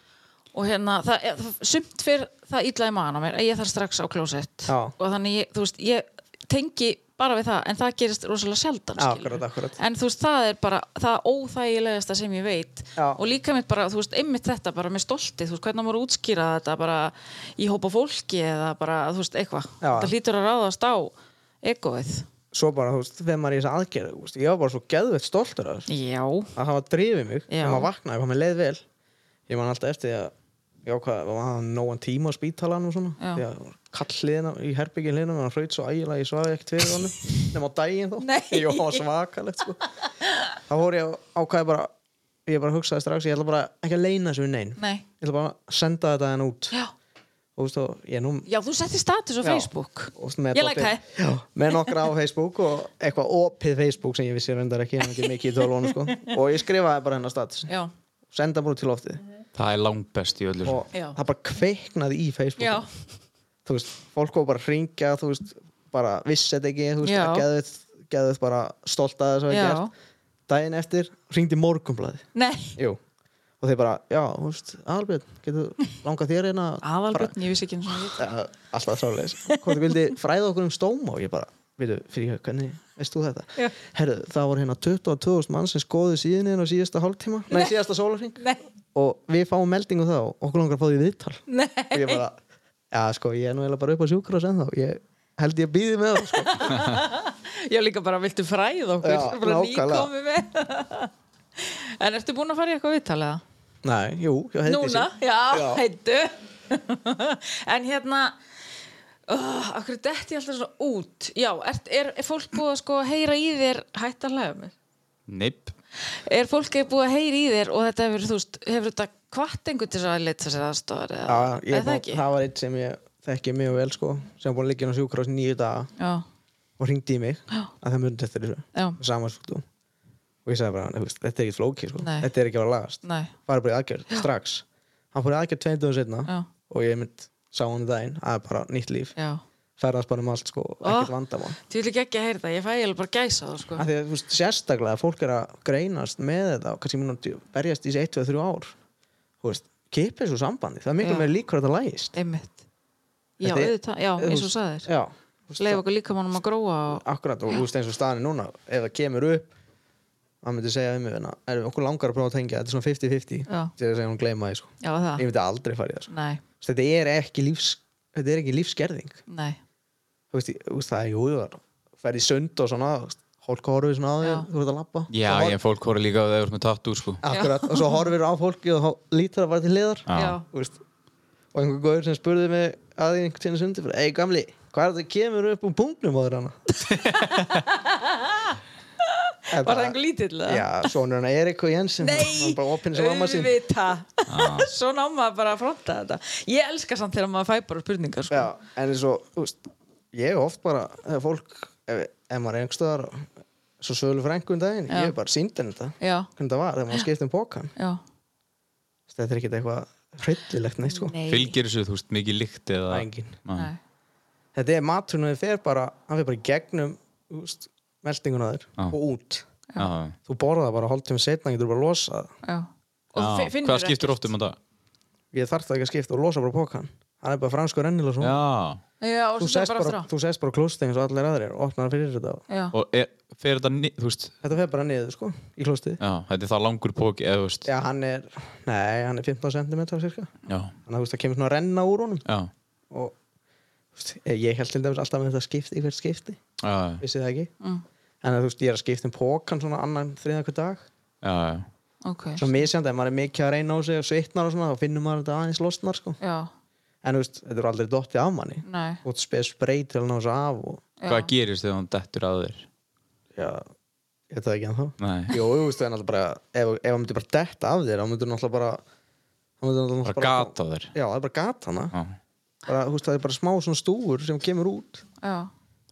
C: og hérna, það, er- það sumt fyrr það ítlaði magan á mér að ég þarf strax á klósett
D: Já.
C: og þannig ég, þú veist, ég tengi bara við það, en það gerist rosalega sjaldan
D: Já,
C: skilurðu.
D: akkurat, akkurat.
C: en þú veist, það er bara það óþægilegasta sem ég veit
D: Já.
C: og líka mitt bara, þú veist, einmitt þetta bara með stoltið, þú veist, hvernig maður útskýra þetta bara í hópa fólki eða bara, þú veist, eitthvað,
D: Já.
C: þetta hlýtur að ráðast á egoið,
D: svo bara, þú veist, þegar maður er í þess aðgerð veist, ég var bara svo geðveitt stoltur af þessu
C: já
D: að hafa drifið mig um
C: Já.
D: þegar maður vaknaði, hvað mér leið vel ég man alltaf eftir því að ég ákvað að hafa nógan tíma á spítalan og svona
C: Já.
D: því að kall hliðina í herbyggin hliðina og hann hraut svo ægilega, ég svaði ekkert fyrir
C: [LAUGHS]
D: honum nema á daginn [LAUGHS]
C: Nei.
D: þá ég var svakalegt sko. þá fór ég á- ákvað bara ég bara hugsaði strax, ég ætla bara ekki að leina þessu við nein,
C: Nei.
D: ég ætla bara að senda þetta henn út
C: já,
D: og þú veist, og ég er nú
C: já þú settir status á
D: Já.
C: Facebook
D: og svona með
C: ég
D: dóttir-
C: lækkaði,
D: Já, með nokkra á Facebook og eitthvað opið Facebook sem ég vissi reyndar ekki, en ekki mikið í tölvónu
C: [LAUGHS]
D: sko. og ég skrifaði bara hérna hennar status
C: já,
D: senda bara út til loftið
A: Það er langbest í öllu.
D: og
C: Mm. Já.
D: það bara kveiknaði í Facebook
C: já
D: þú veist, fólk var bara að hringja þú veist, bara vissi þetta ekki þú veist,
C: Já.
D: að geðuð, geðuð bara stolt að þess að
C: Já.
D: gert daginn eftir hringdi morgumblaði
C: nei,
D: Jú. og þeir bara, já, þú veist, Albjörn getur langað þér hérna eina
C: aðalbjörn, ég vissi ekki eins og [LAUGHS] ég
D: alltaf þráleis hvort þið vildi fræða okkur um stóma og ég bara, veitu, fyrir hvernig veist þú þetta?
C: Já.
D: Herðu, það voru hérna 22.000 mann sem skoðu síðinni á síðasta hálftíma, nei, síðasta sólarhing
C: nei,
D: og við fáum meldingu þá og okkur langar að fá því viðtal
C: nei,
D: og ég bara, já sko, ég er nú eiginlega bara upp á sjúkrás ennþá, ég held ég býði með
C: [LAUGHS]
D: það sko.
C: ég líka bara viltu fræð okkur,
D: Já,
C: bara
D: nákvæmlega.
C: nýkomið með [LAUGHS] en ertu búin að fara í eitthvað viðtalega?
D: Nei, jú, já, heiti
C: Núna,
D: sig.
C: já,
D: Já.
C: heitu [LAUGHS] En hérna oh, Akkur detti ég alltaf svona út Já, er, er, er fólk búið að sko heyra í þér Hætt að hlæða mér
A: Neip.
C: Er fólk búið að heyra í þér og þetta hefur, þú veist, hefur þetta kvart einhvern til þess að leita sér aðstofar eða,
D: Já, ég,
C: eða
D: það,
C: ekki?
D: það var eitt sem ég þekki mjög vel sko, sem var búin að liggja inn á sjúkrás nýju daga
C: Já,
D: og hringdi í mig að það mjöndi eftir þessu
C: já,
D: sama sjúkdóm um. og ég sagði bara, "Nei, þú veist, þetta er ekki flóki sko.
C: Nei.
D: þetta er ekki að vera lagast,
C: nei,
D: fara bara í aðgerð strax, hann fór í aðgerð tveim dögum
C: Já.
D: setna og ég mynd sá hann í daginn að það er bara nýtt líf,
C: já
D: ferðast bara um allt sko, og ekkert vandamál
C: Þú vil ekki ekki að heyra það, ég fæ ég bara gæsa það sko
D: að því að þú veist, sérstaklega að fólk er að greinast með þetta og kannski munandi berjast í þessi 1, 2, 3 ár þú veist, kipið svo sambandi það er miklu
C: Já.
D: meira líkur að það lægist
C: Einmitt Já,
D: Þetta er-
C: auðvitað, já,
D: þú
C: eins og
D: veist,
C: sagðir
D: já, þú veist,
C: Leif okkur líka mannum að gróa og...
D: akkurat og þú veist eins og staðan er núna ef það kemur upp hann myndi segja um mig hérna, er okkur langar að prófa að tengja þetta er svona 50-50
C: Já.
D: þegar ég segja hún gleyma því sko.
C: Já, það,
D: ég myndi aldrei fara í það sko.
C: nei,
D: Þú veist, þetta er ekki lífs þetta er ekki lífsgerðing
C: nei
D: þú veist, ég- þú veist það er jú það fer í sund og svona þú veist, fólk horfir svona á því
C: Já.
D: þú ert að labba
A: Já,
D: Svo hor-
A: ég fólk horfði líka að það voru með tattoo, sko.
D: akkurat, og svo horfir á fólki og þá lítur að vera til hliðar
A: Já.
C: Já,
D: Þú veist, og einhver góður sem spurði mig að ég einhvern tíðan sundi bara, ei gamli, hvað er þetta kemur upp úr punktnum á þér
C: [LAUGHS]
D: hana
C: var það einhver lítill eða?
D: Já, sonur hann Erik og Jensen hann
C: Nei,
D: bara opinn sem mamma
C: [LAUGHS]
D: sín
C: auðvita Svona á maður bara að fronta þetta Ég elska samt þegar maður fæ bara spurningar sko.
D: Já, en eins og, þú veist, ég er oft bara þegar fólk, ef, ef maður er einhverstaðar svo sölu frængu um daginn
C: Já.
D: ég er bara sínd henni þetta,
C: já,
D: hvernig það var þegar maður skipti um bókan,
C: já.
D: þetta er ekkert eitthvað hryllilegt neitt sko,
C: Nei.
A: Fylgir þessu, þú veist, mikið líkt eða...
D: engin
A: Nei.
C: Nei.
D: þetta er maturinn og þið fer bara, hann fer bara í gegnum þú veist, meldinguna þér
A: Já.
D: og út
A: Já,
D: þú borða það bara hálftíma setna getur bara að losa það
C: já.
A: já.
C: Og þú
A: Hvað skiptir oft um þetta?
D: ég þarf það ekki að skipta og losa bara pókan hann er bara franskur ennil og svona
A: Já,
C: Já, og
D: þú
C: svo það
D: sest
C: bara
D: bara,
C: aftur á.
D: þú sest bara klóstið eins og allir aðrir og opnar hann fyrir þetta
C: Já,
A: og er, fer þetta, ni- þú veist,
D: þetta fer bara niður sko í klóstið
A: já, þetta er það langur póki, eða, þú veist,
D: já hann er nei hann er 15 cm cirka
A: já,
D: þannig að þú veist það kemur svona að renna úr honum
A: já,
D: og þú veist, ég held til dæmis alltaf með þetta skipti í hvert skipti
A: já,
D: vissi það ekki
C: mm,
D: en að, þú veist ég er að skipta um pókan svona annan þriðan hver dag
A: já, já,
C: ok
D: svo misjandi ef maður er mikið að reyna á sig og svitnar og svona þá finnur maður þetta aðeins losnar sko
C: Já,
D: en þú veist þetta er aldrei dottið af manni
C: nei
D: og spes breyt til að ná þessu af og
C: já.
A: hvað gerist þegar hún dettur að þér?
D: já, ég veit það ekki ennþá
A: Nei,
D: Jó, þú veist það er náttúrulega bara ef, ef hann myndi bara detta af þér þá myndir náttúrulega bara þá myndir náttúrulega
A: bara gata þér,
D: Já, það er bara gat hana
A: já,
D: bara, þú veist, það er bara smá svona stúfur sem kemur út
C: Já,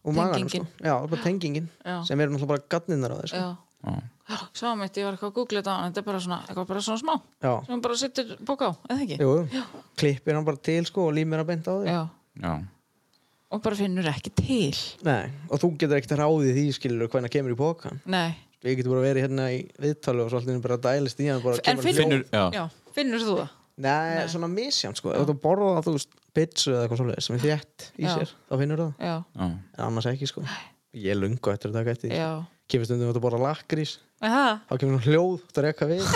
D: og maganum sko.
C: Tengingin.
D: Já, það er bara tengingin
C: Já.
D: sem eru náttúrulega bara gatninnar á þér sko.
C: já
A: já,
C: Sá mitt, ég var eitthvað að googla þetta en þetta er bara svona, eitthvað bara svona smá
D: Já,
C: sem bara sittur bók á, eða ekki?
D: jú, jú. klippir hann bara til sko og límir hann beint á þig
C: Já,
A: já,
C: og bara finnur ekki til
D: Nei, og þú getur ekkert ráðið því skilur hvernig hann kemur í pókan
C: Nei,
D: Við getum bara verið hérna í viðtali og svo allir bara dælist í hann bara
C: en
D: kemur
C: finnur,
A: Finnur- já.
C: finnur þú það?
D: Nei, svona misján sko Ef þú borða þú veist bitsu eða eitthvað svolítið sem er þétt í
C: Já.
D: sér þá finnur það
C: Já,
A: já,
D: en annars ekki sko ég lungu eftir að taka eftir því,
C: já
D: sko. kemur stundum að borða lakrís
C: Er það?
D: þá kemur nú hljóð þú reyka
C: [LAUGHS]
D: við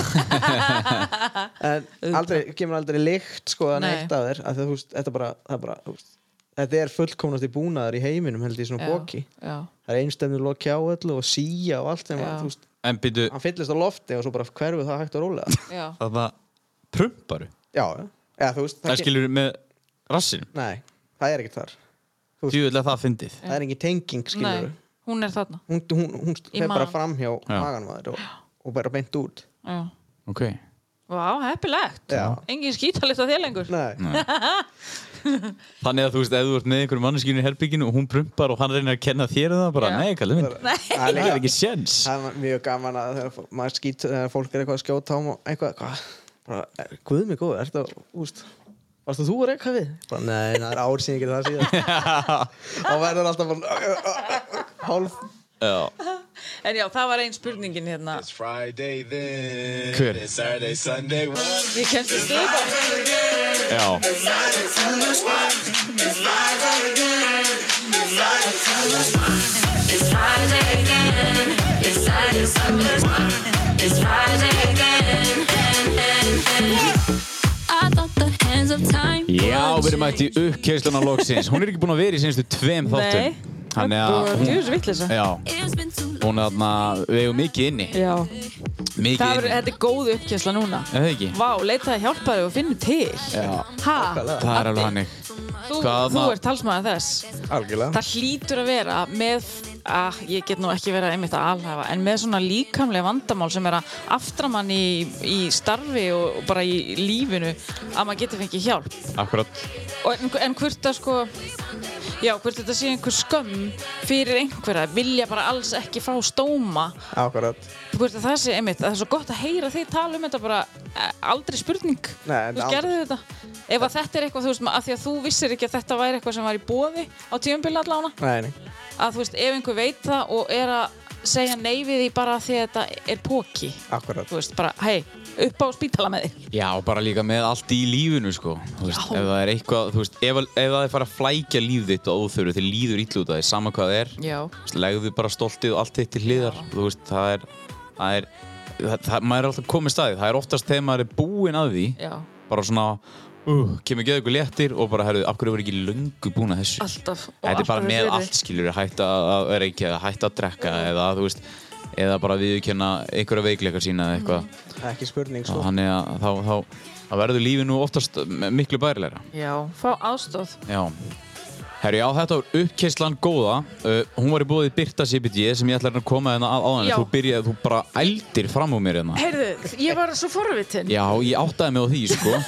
D: en aldrei, kemur aldrei lykt sko að
C: Nei.
D: neitt að þér að það, veist, þetta, bara, það bara, þú veist, þetta er fullkomnast í búnaðar í heiminum held ég í svona
C: Já,
D: bóki
C: Já,
D: það er einstemnur lokja á öllu og síja og allt sem
C: Já.
D: að, þú veist,
A: en byrju,
D: hann fyllist á lofti og svo bara hverfið það hægt og rólega
C: já,
A: það var prumparu,
D: já, já. Eða, þú veist,
A: það
D: það,
A: skilur með rassinum,
D: nei, það er ekkert þar
A: djúvilega það fyndið,
D: það er engin tenging skilur
C: nei, hún er þarna
D: hún, hún, hún
C: Í
D: fer bara
C: magann.
D: fram hjá
A: Já.
D: maganmaður og, og bara beint út
C: Já,
A: ok,
C: vá, heppilegt
D: Já.
C: Engin skítalist að þér lengur
D: nei
A: þannig að þú veist, ef þú ert með einhverjum manneskinu í herbygginu og hún prumpar og hann reynir að kenna þér um það bara,
C: Já.
A: nei, kallið minn,
C: [LAUGHS]
D: Það er
A: það er
D: líka-
A: ekki séns,
D: það er mjög gaman að þegar fó- maður skýt þegar fólk er eitthvað að skjóta á og eitthvað, hvað, bara, er- guð mig góð ertu að, úst, varstu þú að reyka við? Bara, nei, það er ár síðan ekki það
A: [LAUGHS]
D: síðan og verður alltaf bara hálf
A: já,
C: En já, það var einn spurningin hérna
E: It's Friday then.
A: Hver?
E: It's Saturday, Sunday.
C: Ég kemst í stuðbæð
A: já,
B: It's Friday again. It's Saturday, Sunday. It's Friday again. I thought the hands of time.
A: já, við erum
B: were
A: mætt í uppkeislan á loksins, hún er ekki búin að vera í senstu tveim
C: Nei,
A: þáttum, þannig að
C: þú
A: hún,
C: er vitlisa
A: já,
B: It's been too long.
A: hún er þarna, við eigum mikið inni,
C: Já, það
A: mikið
C: var,
A: inni,
C: þetta er góð uppkjæsla núna
A: er það ekki?
C: Vá, leitaði að hjálpa þig og finnu til
A: Já,
C: Ha,
A: það er alveg hannig,
C: þú,
A: Hvað
C: þú
A: það-
C: ert talsmaður þess
D: algjörlega
C: Það hlýtur að vera með að ég get nú ekki verið einmitt að alhafa en með svona líkamlega vandamál sem er að aftra mann í, í starfi og, og bara í lífinu að maður getur fengið hjálp
A: akkurat,
C: og en, en hvort það sko já, hvort þetta sé einhver skömm fyrir einhverja, vilja bara alls ekki fá stóma,
D: Akkurat.
C: hvort að það sé einmitt að það er svo gott að heyra þig tala um þetta bara eh, aldrei spurning,
D: Nei, en
C: þú
D: aldrei.
C: gerði þetta ef að þetta er eitthvað, þú veist, að því að þú vissir ekki að þetta væri eitthvað sem var í bóði á tíumbyrla allána
D: Nei, nei.
C: að þú veist, ef einhver veit það og er að segja nei við því bara af því að þetta er póki
D: Akkurat.
C: þú veist, bara, hei, upp á spítala með þig
A: já, bara líka með allt í lífinu, sko, þú veist,
C: Já.
A: ef það er eitthvað, þú veist, ef, ef það er fara að flækja líf þitt og óþöru, þið líður ítlu út af því, sama hvað það er,
C: já,
A: Þú veist, legðu bara stoltið og allt þitt til hliðar þú veist, það er, það er það, það, maður er alltaf komið staðið, það er oftast þegar maður er búinn að því
C: já,
A: bara svona, uh, kemur geðu ykkur léttir og bara, herruðu, af hverju voru ekki löngu búin að þessu
C: alltaf og
A: þetta er
C: alltaf
A: bara
C: er
A: með
C: fyrir.
A: allt skilur hætta að vera ekki, eða hætta að drekka eða, þú veist, eða bara viðurkenna einhverja veikleikar sína eða eitthvað
D: Ekki spurning, sko.
A: og þannig að þá, þá, þá verður lífið nú oftast m- miklu bærilegra
C: já, fá aðstóð
A: Já Herri, já, þetta var uppkeislan góða uh, Hún var í búið Birta CBD sem ég ætla að koma hérna að áðan
C: Já.
A: en Þú byrjaði, þú bara ældir fram úr mér hérna
C: heyrðu, ég var svo forvitin
A: Já, ég áttaði mig á því, sko
C: [LAUGHS]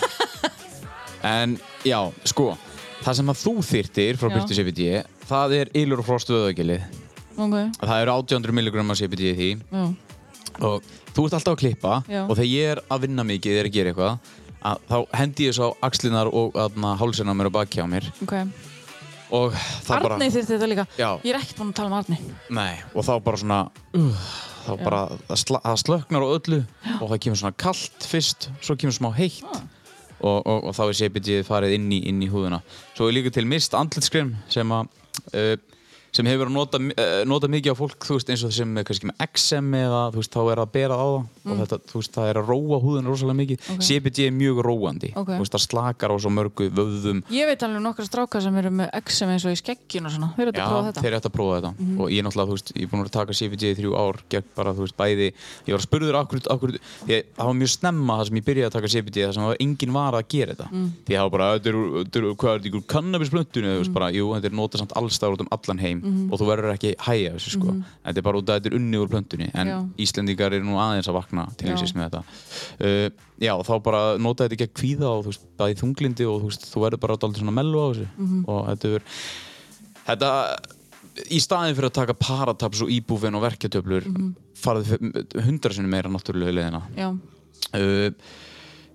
A: En, já, sko Það sem að þú þyrtir frá
C: Já.
A: Birta CBD Það er ylur og frost vöðagilið
C: ok,
A: Það eru 800 milligram af CBD í því
C: já,
A: og þú ert alltaf að klippa
C: Já.
A: og þegar ég er að vinna mikið eða er að gera eitthvað að, þá hendi ég svo á axlinar og aðna, hálsina á mér og bakja á mér
C: ok
A: og það
C: Arnei þurfti þetta líka,
A: Já.
C: ég er ekkert búin að tala um Arnei
A: Nei, og þá bara svona uh, þá bara það sla- það slöknar á öllu og það kemur svona kalt fyrst svo kemur smá heitt og, og, og þá er sépitið farið inn í, inn í húðuna svo er líka til mist andlitskrem sem að uh, sem hefur verið að nota, uh, nota mikið á fólk þú veist, eins og sem er kannski með XM eða þú veist, þá er það að bera á það og þetta, þú veist, það er að róa húðuna rosalega mikið okay. er mjög róandi
C: Ok.
A: þú veist, það slakar á svo mörgu vöðum
C: Ég veit alveg nokkra strákar sem eru með XM eins og í skegginu og svona. Þeir eru
A: Já,
C: að prófa þetta. Mhm.
A: þeir ættu að prófa þetta og ég er náttúrulega, þú veist, ég er búin að vera að taka CFG í þrjú ár gegn bara, þú veist, bæði ég var að spurður akkur, akkur ég, það var mjög snemma það sem ég byrjaði að taka CFG það sem var engin var að gera þetta
C: Mm.
A: því ég hafa bara, þetta eru, þetta eru, hvað er þetta, ykkur kannabisplöntunni,
C: Mm.
A: þú veist, bara, jú, þetta er nota samt allstæður út um allan heim
C: Mm-hmm.
A: og þú verður ekki hæja þessu, sko, þetta er bara út að þetta er unni úr plöntunni, en
C: Já.
A: Íslendingar eru nú aðeins að vakna til
C: Já.
A: þessis með þetta uh, já, þá bara nota þetta gegn kvíða og þú veist, bæði þunglindi og þú veist, þú verður bara dálítið svona mellu á þessu og þetta er þetta í staðin fyrir að taka parataps og íbúfin og verkjatöflur mm -hmm. farið hundra sinni meira náttúrulega leðina
C: Já,
A: uh,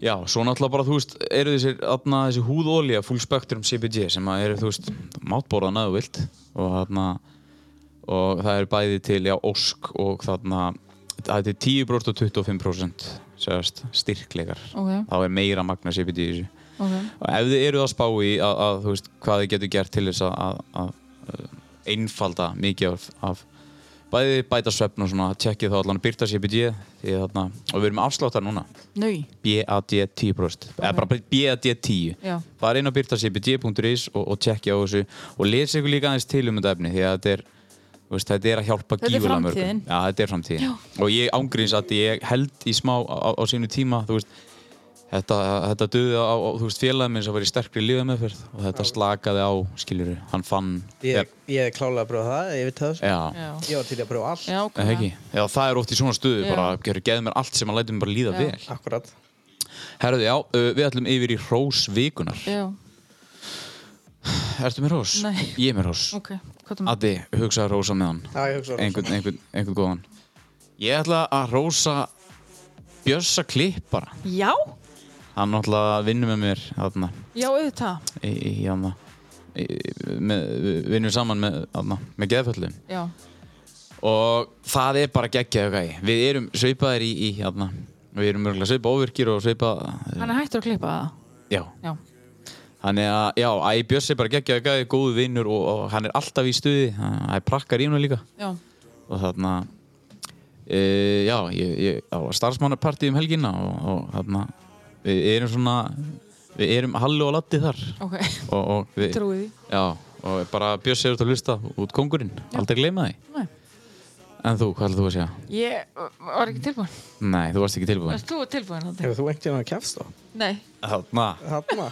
A: já, svo náttúrulega bara þú veist, eru þessir, atna, þessi húðolja full spectrum CBG sem að eru þú veist mátborðan að þú vilt og, atna, og það eru bæði til já, ósk og þarna það er til 10% og 25% segast, styrklegar
C: ok,
A: þá er meira magna CBD í þessu
C: ok.
A: og ef þið eru að spá í að, að þú veist, hvað þið getur gert til þess að, að, að uh, einfalda mikið af, af bæði bæta svefn og svona tjekkið þá allan að byrta sér BD því að þarna, og við erum með afsláttar núna
C: Nau,
A: BAD 10 brúst eða bara BAD 10
C: Já.
A: það er inn á byrtacbd.is og, og tjekkja á þessu og lesa ykkur líka aðeins til um þetta efni því að þetta er þú Veist, þetta er að hjálpa
C: Þetta er
A: gífurlega
C: framtíðin.
A: Já, þetta er framtíðin. Já. Og ég ángriðins að ég held í smá á, á sínu tíma, þú veist, þetta, þetta döði á, á þú veist, félagið minn sem var í sterkri líðameðferð og þetta slakaði á, skiljur, hann fann.
D: Ég, ég er klálega að prófa það, ég veit það sko.
A: Já,
C: já.
D: Ég var til í að prófa allt,
C: Já, ok.
A: eða ekki? Já, það er oft í svona stöðu,
C: Já.
A: bara, gerur, geðu mér allt sem að læta mér bara líða
C: Já.
A: vel.
D: akkurat
A: Herðu, já, uh, við ætlum yfir í hrós vikunar.
C: Já,
A: Ertu með hrós?
C: Nei.
A: Ég er með hrós.
C: ok. Hvað er það?
A: Addi, hugsaði að hrósa með hann.
D: Já, ég hugsa um
A: einhvern, einhvern, einhvern góðan ég ætla að rósa Bjössa Klippara
C: Já,
A: hann náttúrulega vinnur með mér þarna,
C: já, auðvitað.
A: í, í, í, þarna, í, með, vinnur saman með, þarna, með geðföllum
C: Já,
A: og það er bara geggjað okay. við erum svipaðir í, í þarna, við erum mörgulega svipað óvirkir og svipað
C: hann er hættur að klippa það.
A: já,
C: Já,
A: Þannig að, já, æ, Bjössi er bara geggjaði gæði, góðu vinnur og, og hann er alltaf í stuði, hann hann prakkar í hennu líka.
C: já,
A: og þarna e, já, ég, ég á starfsmannapartíð um helgina og, og þarna við erum svona við erum hallu og latti þar
C: ok.
A: og, og við,
C: Trúið því.
A: já, og bara Bjössi er út að hlusta út kongurinn, aldrei gleyma því
C: Nei.
A: en þú, hvað ætlaðu þú að segja?
C: Ég uh, var ekki tilbúin.
A: Nei, þú varst ekki tilbúin
C: Erst þú tilbúin? Addi?
D: Hefur þú einhvern tímann að kefst þá?
C: Nei,
A: [LAUGHS] þarna,
C: [LAUGHS]
D: Þarna,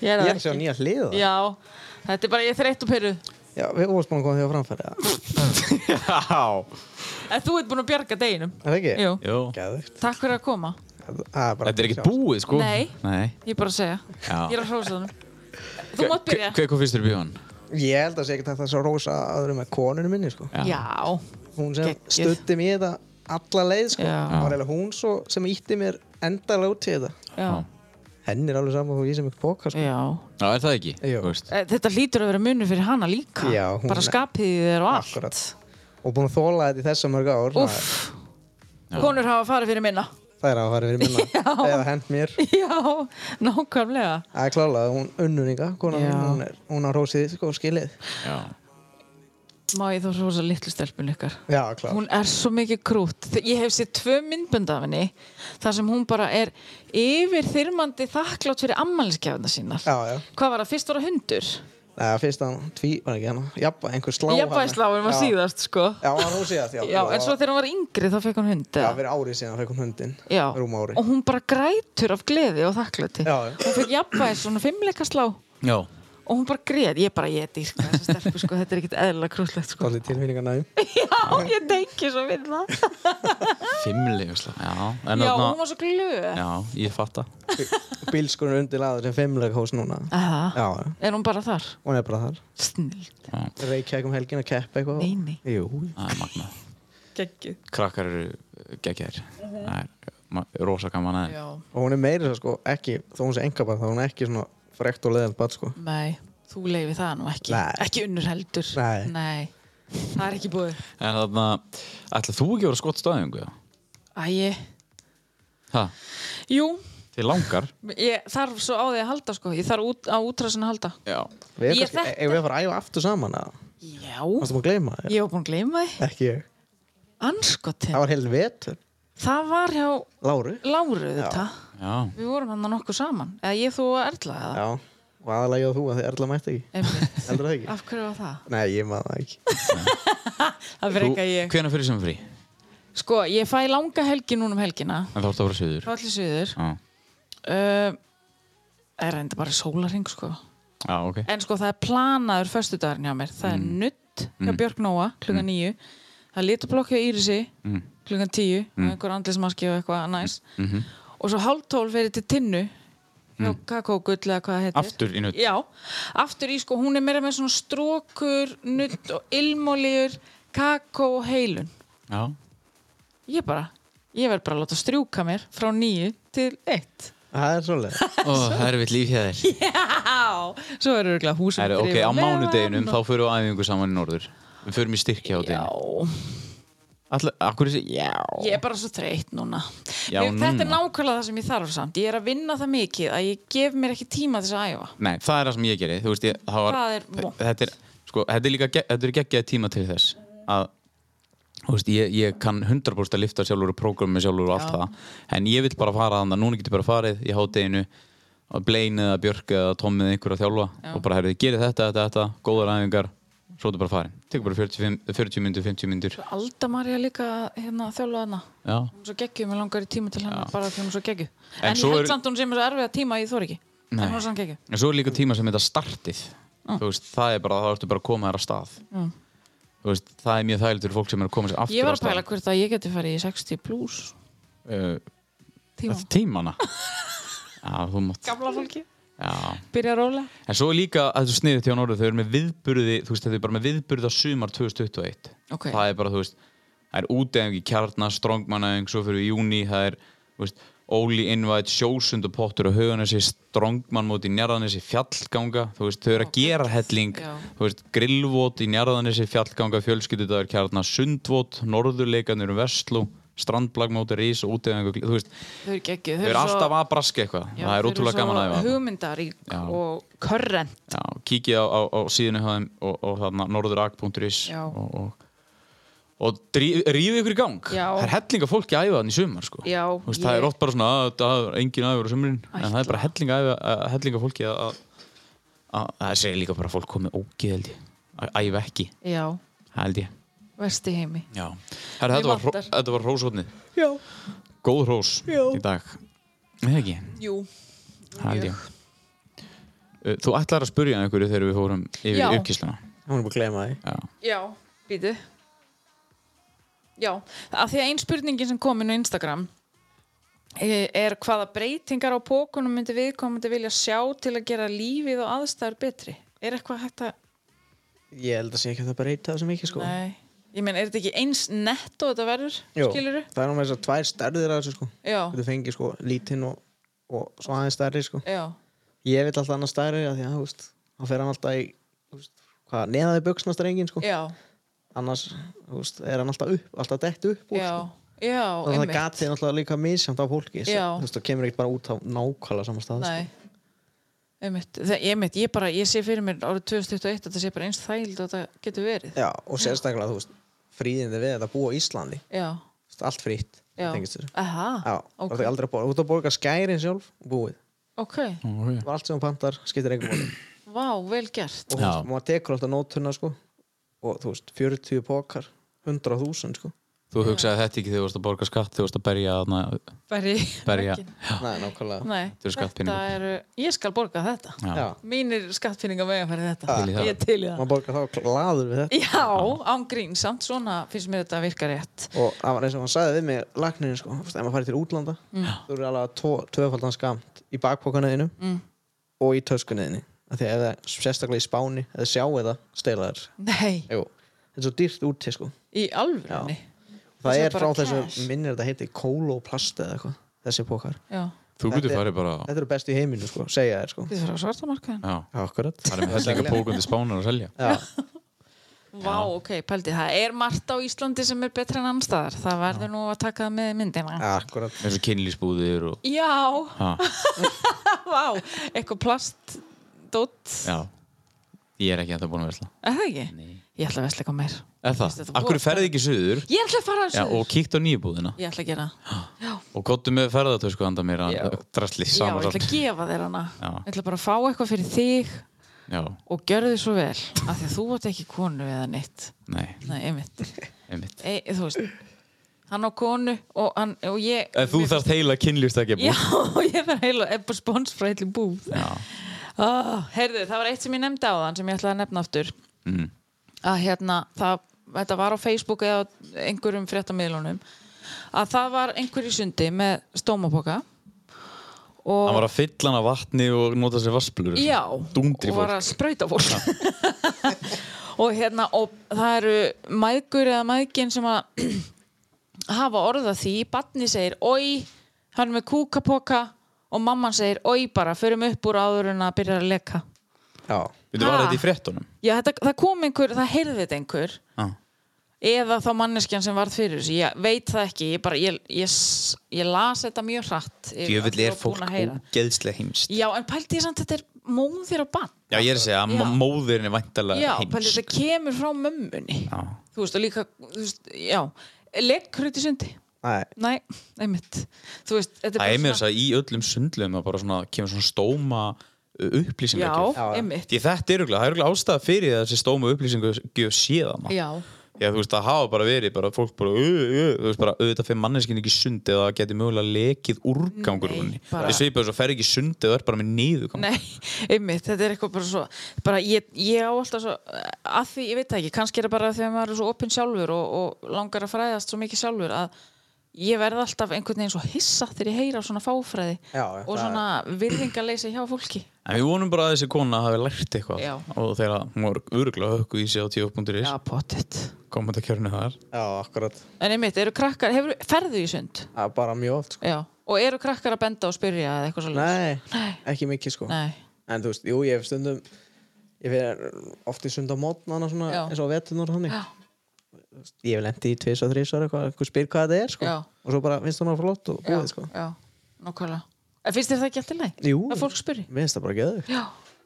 C: ég er
D: ég
C: það
D: er að sjá
C: ekki.
D: nýja hliða Já,
C: Já, þetta er bara, ég er þreytt og pyrruð.
D: við erum búin að koma því á framfæri eða?
A: já,
C: En þú ert búin að bjarga deginum.
D: Er það ekki?
C: Jú,
A: jú
D: Geðvegt.
C: takk fyrir að koma.
D: Það er bara
A: þetta er ekkert búið, sko
C: Nei.
A: Nei.
C: Ég er bara að segja.
A: Já.
C: Ég er að hrósa þannig. Þú mátt byrja.
A: Hver kom fyrstur í bíón?
D: Ég held að það sé ekkert hægt að það svo rosa aðurum með konunum minni sko.
C: Já,
D: Hún sem
C: Geggjuð.
D: stutti mér þetta alla leið sko.
C: Já.
D: Það var eiginlega hún svo sem ítti mér endalega út til þetta
C: já,
D: Henni er alveg saman þú ég sem ekki bóka sko.
C: já.
A: Já, er það ekki?
D: Jú.
A: Þú veist.
C: Eh, Þetta hlýtur að vera munur fyrir hana líka.
D: Já, hún
C: bara
D: er-
C: skapið í þér og allt.
D: Akkurat. Og búin að þóla þetta í þessa mörg ár
C: Úff, konur hafa farið fyrir minna.
D: Það er að fara fyrir minna Eða hend mér
C: [LAUGHS] Já, nákvæmlega.
D: Það er klálega, hún unnuringa, konan
C: Já.
D: mín, hún er, hún á rósið, sko, skilið.
A: Já.
C: Má ég þá rosa litlu stelpun ykkar?
D: Já, klálega.
C: Hún er svo mikið krút. Ég hef séð tvö myndbönd af henni þar sem hún bara er yfirþyrmandi þakklátt fyrir ammælisgjafna sínar.
D: Já, já.
C: Hvað var það? Fyrst var það hundur.
D: Nei, fyrst hann, tví, var ekki hana, jafn, einhver slá
C: Ég bæði sláin var
D: Já.
C: síðast, sko.
D: Já, hann rósið það, já.
C: Já, en svo þegar hún var yngri þá fekk hún hund.
D: Já,
C: eða?
D: fyrir árið síðan fekk hún hundin.
C: Já,
D: Rúm ári.
C: og hún bara grætur af gleði og þakklæti.
D: Já, já.
C: Hún fyrir jafnvæði svona fimmleika slá og
A: Já.
C: hún bara grét. Ég bara, ég dýrka þessa stelpu, sko, þetta er ekkit eðlilega krúslegt, sko.
D: Svolítið tilfinningar
C: [LAUGHS]
D: nægum.
C: Já, ég tengi svo við það.
A: Fimmleifisla. Já, en
C: Já,
A: þarna-
C: hún var svo glöð.
A: Já, ég fatta.
D: Bílskurinn undir laður sem fimmlega hós núna.
C: Aha.
D: Já, já.
C: Er hún bara þar?
D: Hún er bara þar.
C: Snill.
A: Já.
D: Reykjavík um helgin að keppa eitthvað.
C: Nei, nei.
D: Jú.
A: Það er magnað.
C: Gekkið.
A: Krakkar eru geggjær. Það er ma- rosa gaman aðeins.
C: Mhm. Já,
D: Og hún er meira, svo, sko, ekki, þó hún sé enga bara, þá er hún ekki svona frekt og leðald bara, sko.
C: nei, þú leifi það nú ekki.
D: Nei.
C: Ekki unnur heldur.
D: Nei.
C: Nei. það er ekki búið
A: En þarna, ætlaði þú ekki að vera skottstæðingu?
C: Æ,
A: Hæ?
C: jú,
A: Þið langar?
C: ég þarf svo á því að halda sko. ég þarf út, á útrásin að halda
A: Já.
D: Við erum
C: Ég
D: kannski,
C: þetta-
D: ef við að fara að æfa aftur saman að
C: Já,
D: Varstu maður að gleyma það?
C: ég var búin að gleyma því
D: Ekki ég
C: Anskotin,
D: Það var heil vetur
C: það var hjá
D: Láru
C: Láru þetta
A: Já.
C: Við vorum hann nokkuð saman Eða ég þú og Erla eða
D: Já Og aðalega ég og þú að þið erla mætti ekki
C: Einmitt.
D: Heldur það ekki?
C: Af hverju var það?
D: Nei, ég maður það ekki
C: Það fyrir ekki að ég
A: Hvenær fyrir sem frí?
C: Sko, ég fæ langa helgi núna um helgina
A: En þá ertu að vera söður.
C: Frá allir suður
A: Já.
C: uh, Er reynda bara sólarring sko
A: Já, ok.
C: En sko það er planaður föstudagurinn hjá mér Það er nutt hjá Björk Nóa klukkan níu Það er litublokk hjá Írisi mm. klukkan tíu mm. einhver andlismaski og eitthvað næs
A: Mhm.
C: Og svo hálf tól fyrir til Tinnu hjá kakógull eða hvað það heitir
A: Aftur í nudd.
C: Já, aftur í sko, hún er meira með svona strókur, nutt og ilmolíur, kakó og heilun
A: Já.
C: Ég bara, ég verð bara að láta strjúka mér frá nýju til eitt
D: Það er svolítið
A: Ó, það er við líf hér þér.
C: Já, svo er örgulega húsum
A: Það er ok, á mánudeginum þá förum við á æfingu saman í norður. Við förum í styrkja á
C: Já,
A: deginu. Alltaf, akkur þessi, já.
C: ég er bara svo þreytt núna
A: Já,
C: Ég- Þetta er
A: núna.
C: nákvæmlega það sem ég þarf samt Ég er að vinna það mikið að ég gef mér ekki tíma til þess að æfa
A: Nei, það er það sem ég geri. Þú veist, ég, það var...
C: Það er vont.
A: Þetta er, sko, þetta er líka, ge- þetta er geggjað tíma til þess að Þú veist, ég, ég kann 100% að lifta sjálfur og prógrami sjálfur og allt það en ég vill bara fara þannig að núna getur bara farið í hátteginu að Blaine eða Björk eða Tommi eða einhver að þjálfa og bara herrið, gerir þetta, þetta, þetta, góðar æfingar svo þetta bara farin, tekur bara 45 40 myndur, 50 myndur
C: Alda Marja líka hérna þjálfa hana
A: Já,
C: Hún er svo geggjum, ég langar í tíma til hennar bara því hún er svo geggjum
A: En
C: En, ég
A: svo
C: held
A: er-
C: samt að hún sem er svo erfið að tíma að ég þór ekki En
A: Nei.
C: hún er samt geggjum
A: En svo er líka tíma sem þetta startið Þú veist, það er bara, þá ertu bara að koma þér að stað Þú veist, það er mjög þægilegt fyrir fólk sem er að koma sér aftur
C: Ég
A: af
C: var að
A: stað.
C: pæla hvert að ég geti farið í 60 plus
A: uh,
C: tíma
A: Tímana
C: [LAUGHS]
A: Já, þú mátt
C: Gamla fólki
A: Já.
C: Byrja að róla
A: En svo er líka að þú sniðið til á norðu Þau eru með viðburði, þú veist, þetta er bara með viðburða sumar 2021
C: Ok.
A: Það er bara, þú veist, það er úteðing í kjarna strongmanæðing, svo fyrir við í júni það er, þú veist, Óli Invite sjósundupottur og hauganessi strongmann móti njaraðanessi fjallganga þú veist, þau eru að gera helling
C: Já.
A: þú veist, grillvót í njaraðanessi fjallganga fjölskyldudagur kjarna sundvót norðurleikanur um vestlú strandblagmóti, rís og úteðing þú veist,
C: Þau eru geggjum
A: Þau eru alltaf að braska eitthvað,
C: Já,
A: það er
C: þau eru
A: útrúlega
C: svo
A: gaman að æfa
C: Hugmyndarík
A: Já.
C: og körrent
A: Já, Kíkið á, á, á síðinu hjá þeim og, og þarna norðurag.is
C: Já.
A: og, og, og drí- rífið ykkur í gang
C: Já.
A: Það er helling af fólki að æfa þannig í sumar sko.
C: Já,
A: Þú veist, Það
C: ég-
A: er oft bara svona að, að engin æfur á sumrin en það
C: Ætla.
A: er bara helling, að, æfa- að, helling af fólki að, að, að það segir líka bara að fólk komið ógið held ég að æfa ekki,
C: Já,
A: það held ég
C: versti heimi
A: Já, Her, þetta, var, hró-
C: vantar.
A: þetta var róshotnið
C: Já,
A: Góð rós
C: Já.
A: í dag Nei ekki
C: jú
A: Það held ég. Uh, Þú ætlar að spurja einhverju þegar við fórum yfir
C: Já.
A: uppkísluna.
D: [LAUGHS] Hún er búin að gleyma því
A: Já.
C: Já, býtu Já, af því að ein spurningin sem kom inn á Instagram eh, er hvaða breytingar á pókunum myndi viðkomandi vilja sjá til að gera lífið og aðstæður betri Er eitthvað hægt að
D: Ég held að sé ekki að það breyta þessu mikið sko
C: Nei, ég meina, er þetta ekki eins netto þetta verður,
D: Jó,
C: skiluru?
D: Það er nú með þess að tvær stærðir að þessu sko
C: Já,
D: Þetta fengi sko lítinn og, og svo aðeins stærri sko
C: já,
D: Ég vil alltaf annars stærri að því að, þú veist Hann fer hann alltaf í, þú veist Hvað, neðaði buksna strengin sko
C: já,
D: Annars, þú veist, er hann alltaf upp, alltaf dett upp úr
C: já,
D: sko
C: já,
D: Og það gatið er náttúrulega líka misjönd af fólki svo,
C: Já.
D: Þú veist, það kemur ekkert bara út á nákvæmlega sama stað sko.
C: Nei einmitt. Það, einmitt, ég bara, ég sé fyrir mér árið 2021 að það sé bara eins þægild og það getur verið
D: Já, og sérstaklega, þú veist Fríðindi við þetta að búa á Íslandi
C: Já,
D: Þú veist, Allt frítt,
C: já
D: tengist þessu
C: Aha,
D: Já, okay. það
C: ok,
D: er aldrei að borga Þú ert að borga skærin sjálf og búið
C: ok,
A: Okay.
D: Það var allt sem hún pantar, skiptir einhver máli
C: vá, vel gert
D: Og þú
A: Já.
D: veist, maður tekur alltaf nótuna sko Og þú veist, 40 pokar 100.000 sko
A: Þú hugsaði þetta ekki þegar þú varst að borga skatt, þegar þú varst að berja, þarna,
C: Bæri,
D: [LAUGHS]
A: berja.
D: Nei, nákvæmlega
C: Nei,
A: eru skattpeningar.
C: eru, ég skal borga þetta
A: Já.
D: Já,
C: Mínir skattfinninga vega færi þetta
A: Til í það.
C: Ég er til í það
D: maður borgar þá glaður við þetta
C: Já, án grín, samt svona finnst mér þetta virka rétt
D: Og það var eins og hann sagði við mig Læknirinn sko, þú veist, ef maður farið til útlanda Þú eru alveg tvo, tvöfaldan skamt Í bakpokanuðinu mm. og í töskunuðinu Því að ef það sérstaklega í spáni Eða sjáu það, steila þér
C: Nei,
D: Jú, þetta er svo dýrt úti sko
C: í alvörunni
D: Það
C: Þessi
D: er
C: bara
D: frá þessu,
C: cash.
D: minnir þetta heiti Kóloplast eða eitthvað, þessi pokar
C: Já,
A: Þú
D: Þetta
A: getur
D: er-
A: farið bara,
D: Þetta eru bestu í heiminu sko, segja þér sko
C: þið fyrir á svartamarkaðin
A: já,
D: Akkurat
A: það er með hellinga pókundi spánar að selja.
D: Já,
C: Vá, ok, pældi, það er margt á Íslandi sem er betra en annarstaðar. Það verður nú að taka það með í myndina.
D: Akkurat
A: eins og kynlísbúðir og
C: Já,
A: ha,
C: vá, eitthvað plastdótt,
A: já ég er ekki enda búin að vesla
C: er það ekki? Ég ætla að vesla eitthvað meir.
A: er
C: Veistu,
A: það,
C: þetta
A: akkur
C: voru-
A: ferði ekki suður
C: Ég ætla að fara að
A: já,
C: suður.
A: og kíkt á nýjubúðina
C: Ég ætla að gera það.
A: og gottu með ferðartösku handa mér að-
C: Já.
A: drasli
C: Já, ég
A: saman
C: ætla að gefa þér hana.
A: Já.
C: Ég ætla bara að fá eitthvað fyrir þig
A: já,
C: og gjörðu svo vel. Af því að þú átt ekki konu eða neitt.
A: nei,
C: Nei, einmitt.
A: einmitt
C: E, þú veist, hann á konu og, hann, og ég...
A: Ef þú
C: mér-
A: þarft heila kynlífst ekki
C: Já, [LAUGHS] ég þarf heila, er bara spons frá heilu búð.
A: já,
C: Ah, heyrðu, það var eitt sem ég nefndi á þann sem ég ætlaði að nefna aftur
A: Mm.
C: að hérna, það, þetta var á Facebook eða á einhverjum fréttamiðlunum að það var einhver í sundi með stómapoka og
A: hann var að fylla hann af vatni og nota sér vassblur
C: já,
A: dúndri
C: og var
A: fólk
C: að sprauta fólk [LAUGHS] og hérna og það eru mæðgur eða mæðgin sem að [CLEARS THROAT] hafa orða því, batni segir oi, hann er með kúkapoka og mamman segir oi bara, förum upp úr áður en að byrja að leka
D: Já,
A: Við þú var
C: Ha?
A: þetta í fréttunum
C: Já, þetta, það kom einhver, það heyrði þetta einhver
A: Já.
C: eða þá manneskjan sem varð fyrir þessu ég veit það ekki, ég bara ég, ég, s- ég las þetta mjög hratt yfir allt
A: Djöfull
C: og búin að heyra.
A: ógeðslega heimst
C: Já, en pældi ég samt þetta er móðir og bann
A: Já, ég er að segja að
C: Já.
A: m- móðirin er
C: Já,
A: væntalega
C: pældi
A: heimsk
C: þetta kemur frá mömmunni
A: Já.
C: Þú veist, og líka, þú veist, já Legkraut í sundi,
D: nei,
C: næ, einmitt Þú veist, þetta er
A: Það er með þess að í öllum sundlum að bara svona, kemur svona stóma
C: Já,
A: upplýsingagjöf
D: já.
C: einmitt
A: Því þetta er örgulega, það er örgulega ástæða fyrir því að þessi stóma upplýsingagjöf séðan
C: Já,
A: Já, þú veist, það hafa bara verið, bara fólk bara, uh, uh, þú veist, bara, auðvitað fyrir manneskinn ekki í sund eða það geti mögulega lekið úrgangur úr
C: Nei,
A: henni.
C: bara-
A: Þið svipað þess að fer ekki í sund eða er bara með niðurgang.
C: Nei, einmitt, þetta er eitthvað bara svo bara ég, ég á alltaf svo að því, ég veit það ekki, kannski er það bara af því að maður er svo opinn sjálfur og, og langar að fræðast svo mikið sjálfur að ég verð alltaf einhvern veginn svo hissa þegar ég heyra á svona fáfræði
D: Já, já,
C: og
D: það-
C: svona virðingarleysi hjá fólki
A: En við vonum bara að þessi kona hafi lært eitthvað
C: Já.
A: og þegar hún var örgulega hökku í sig á 10.is,
C: Já, pottitt
A: komandakjörni þar.
D: já, akkurat
C: En einmitt, eru krakkar, hefur, ferðu í sund?
D: Það er bara mjög oft sko.
C: Já, og eru krakkar að benda og spyrja eða eitthvað svo
D: Nei,
C: Nei.
D: ekki mikið sko
C: Nei,
D: En þú veist, jú, ég hef stundum Ég fer oft í sund á mótnana svona
C: Já.
D: eins og á vetunar og þannig
C: Já.
D: Þú veist, Ég hef lendi í tvis og þrís og eitthvað, eitthvað spyr hvað þetta er sko
C: Já.
D: og svo bara finnst hún að flott og
C: já,
D: búið sko
C: já, nokkvælega En finnst þér það ekki alltaf leið?
D: Jú,
C: Að fólk spyrji?
D: finnst það bara geðu
C: Já,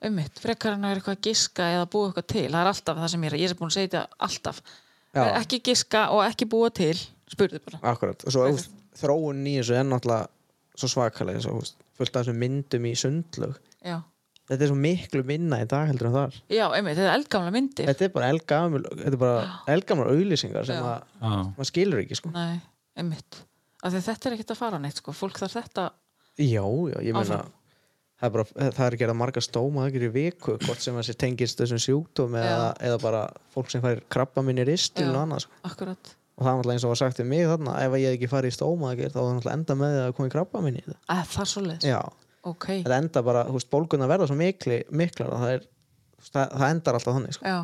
C: ummitt, frekar en að vera eitthvað að giska eða búa eitthvað til, það er alltaf það sem ég er ég er búin að segja þetta alltaf
D: Já.
C: ekki giska og ekki búa til spurðu bara,
D: Akkurat, og svo þú veist, þróun í þessu er náttúrulega svo svakalega svo, þú veist, fullt af þessum myndum í sundlög
C: já,
D: Þetta er svo miklu minna í dag heldur en þar
C: já ummitt, þetta er eldgamla myndir
D: Þetta er bara elgamul, þetta er bara
C: [GASPS]
D: elgamlar auðlýsingar sem
C: Já.
D: að
A: Já.
D: maður skilur ekki sko
C: Nei, ummitt af því að þetta er ekkert að fara neitt sko, fólk þarf þetta
D: Já, já, ég meina
C: Áfram.
D: það er, bara, það er gerða marga stóma aðgjör í viku, hvort sem þessi tengist þessum sjúkdóm eða, eða bara fólk sem fær krabba minni ristil og
C: Já.
D: annað sko.
C: akkurat,
D: og það er náttúrulega eins og var sagt við mig þarna ef að ég hef ekki farið í stóma aðgjör þá er náttúrulega enda með því að koma í krabba minni í það.
C: að það er svo leiðis
D: Já,
C: ok,
D: þetta enda bara, þú veist, bólguna verða svo mikli, miklar að það er þú veist, það, það endar alltaf þannig sko.
C: já,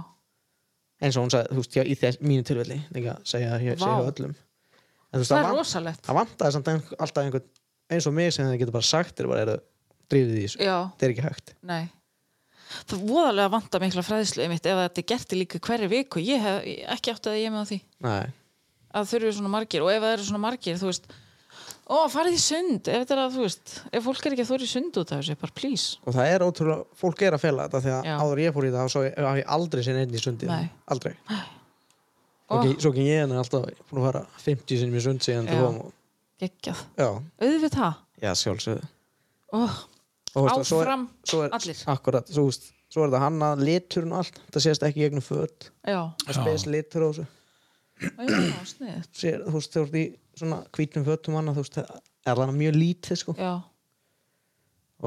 D: eins og hún sagði, þú veist, já, í þess mínu tilfelli ekki að segja það hér,
C: Vá.
D: segja öllum en, þú veist,
C: það er
D: van-
C: rosalegt
D: það vantaði samt ein- alltaf einhvern eins og mig sem það getur bara sagt er bara er drífið í þessu,
C: já,
D: þetta er ekki hægt
C: nei það er voðalega vanta mikla fræðslu einmitt ef þetta er gert í líka hverju viku ég hef ekki átt að ég með á því
D: Nei.
C: að þurfi svona margir og ef það eru svona margir þú veist, ó farið í sund ef þetta er að þú veist, ef fólk er ekki að þóra í sund út af þessu, bara please
D: og það er ótrúlega, fólk er að fela þetta því að
C: Já.
D: áður ég fór í það svo haf ég aldrei sinni einn í sundið
C: Nei.
D: aldrei,
C: Ó.
D: svo kem- svo ekki ég henni alltaf búin að fara 50 sinni í sund síðan
C: Já.
D: þú kom og,
C: geggjað,
D: já,
C: auðvitað
D: já sjálfsögðu
C: oh,
D: Og þú veist, svo er-
C: áfram,
D: svo er,
C: allir
D: akkurat, svo, veist, svo er það hanna liturinn og allt, það sést ekki í gegnum föt
C: já,
D: það spes litur á þessu
C: já, snið
D: Sér, þú veist, þú ert í svona hvítum fötum annað, þú veist, það er það mjög lítið sko.
C: já,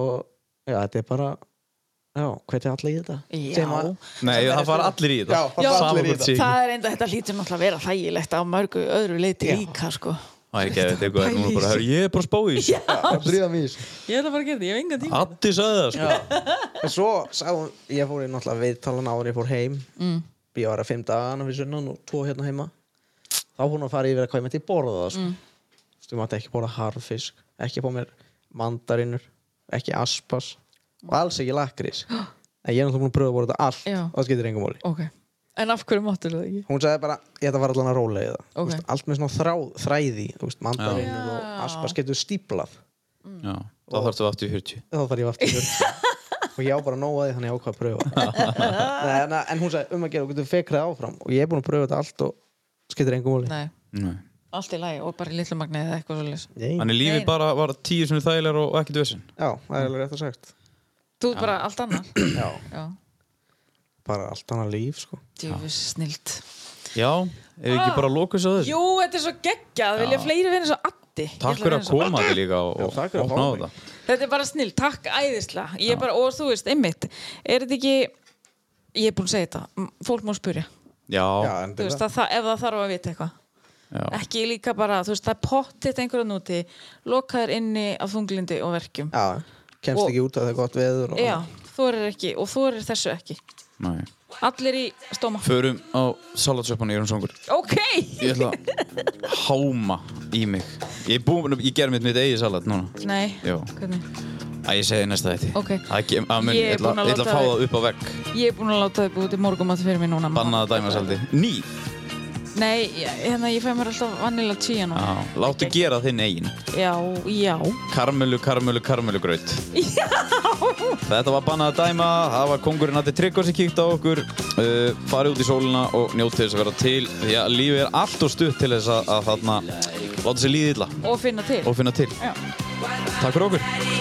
D: og já, þetta er bara já, hvað er allir í þetta?
C: Já.
D: Sem að-
A: Nei, það fara allir í þetta.
D: Já, það fara
A: Sama
D: allir í
A: hvort
D: þetta.
A: sé ekki.
C: það er enda, þetta hlýtur náttúrulega að vera þægilegt á mörgu öðru leiti
D: Já.
C: líka sko
A: Það er ekki að þetta eitthvað er núna bara, "Herru, ég er bara að spá í þessu.
D: að dríða mig í þessu.
C: ég ætla bara að gera þetta, ég hef enga tíma
A: Addi sagði það, sko.
D: en svo sagði hún, ég fór í náttúrulega viðtalan áður en ég fór heim mm. ég var að fimm dagana fyrir sunnan og tvo hérna heima þá fór hún að fara yfir að hvað ég mætti borða það sko. mm. þú mátti ekki borða harfisk ekki fá mér mandarinur ekki
C: [GASPS]
D: aspas og alls ekki lakrís en ég er náttúrulega búin að pröfa að borða þetta allt
C: Já.
D: og það skiptir engum máli
C: ok, En af hverju máttur það ekki?
D: hún sagði bara, ég ætla að fara allan að róla í það
C: Ok.
D: okay. allt með svona þráð, þræði mandarinn og aspas getur stíplað
A: Já, þá þarfstu aftur í 40
D: þá þarf ég aftur í
C: [LAUGHS]
D: 40 og ég á bara nóg að því þannig ég ákvað að pröfa
C: [LAUGHS]
D: Nei, en, en hún sagði um að gera og getur fekrað áfram og ég er búin að pröfa þetta allt og skiptir engum múli
C: Nei,
A: Nei.
C: allt í lagi og bara í litlu magni eða eitthvað svolítið
D: já,
A: Þannig lífið
C: Nei.
A: bara var tíu sem þægilegar og ekkert vesinn
D: það er alveg rétt að sagt
C: Þú ert bara allt annað
D: já.
C: Já,
D: bara allt annað líf sko.
C: djöfus snilt
A: Já, ef ekki bara lókus á þessu
C: Jú, þetta er svo geggjað, vilja fleiri vinna svo addi
A: Takk fyrir að koma þig líka og,
D: Já,
A: og
D: takk fyrir
A: opna
D: að
A: á
D: fá mig.
A: þetta
C: Þetta er bara snill, takk æðislega Ég er bara, og þú veist, einmitt Er þetta ekki, ég er búin að segja þetta m- Fólk má spyrja,
D: já,
A: Já,
D: en
C: þú veist,
D: þetta
C: að, það- ef það þarf að vita eitthvað
A: já,
C: Ekki líka bara, þú veist, það er pottitt einhverjum núti Lokaður inni af þunglindi og verkjum
D: já,
C: Og-
D: kemst ekki út að það er gott veður og...
C: Já, þú erir ekki, og þú erir þessu ekki
A: næ
C: Allir í stóma
A: Förum á salatsöpana Jörn Songur
C: Ok,
A: Ég ætla að háma í mig Ég, er búinn að- ég ger mitt mitt eigið salat núna
C: nei,
A: Já,
C: hvernig
A: að ég segi næsta þetta
C: Ok.
A: Ég
C: Ég er
A: ætla
C: búin að
A: ég ætla að
C: láta
A: fá
C: þig-
A: það upp á vegg
C: Ég er búin að láta þið búið til morgumat fyrir mig núna
A: Bannaða dæmasaldi Ný,
C: Nei, ég- hérna, ég fæ mér alltaf vanilla tíja núna
A: já, láttu gera þinn eigin
C: Já, já
A: Karmelu, karmelu, karmelu gröyt
C: [LAUGHS]
A: Þetta var bannað að dæma Það var kongurinn að þið tryggva sem kíkt á okkur uh, farið út í sólina og njótið þess að vera til Því að lífið er allt og stutt til þess að, að þarna Láta sér líðið illa
C: Og finna til
A: og finna til
C: Já.
A: Takk fyrir okkur
F: Ready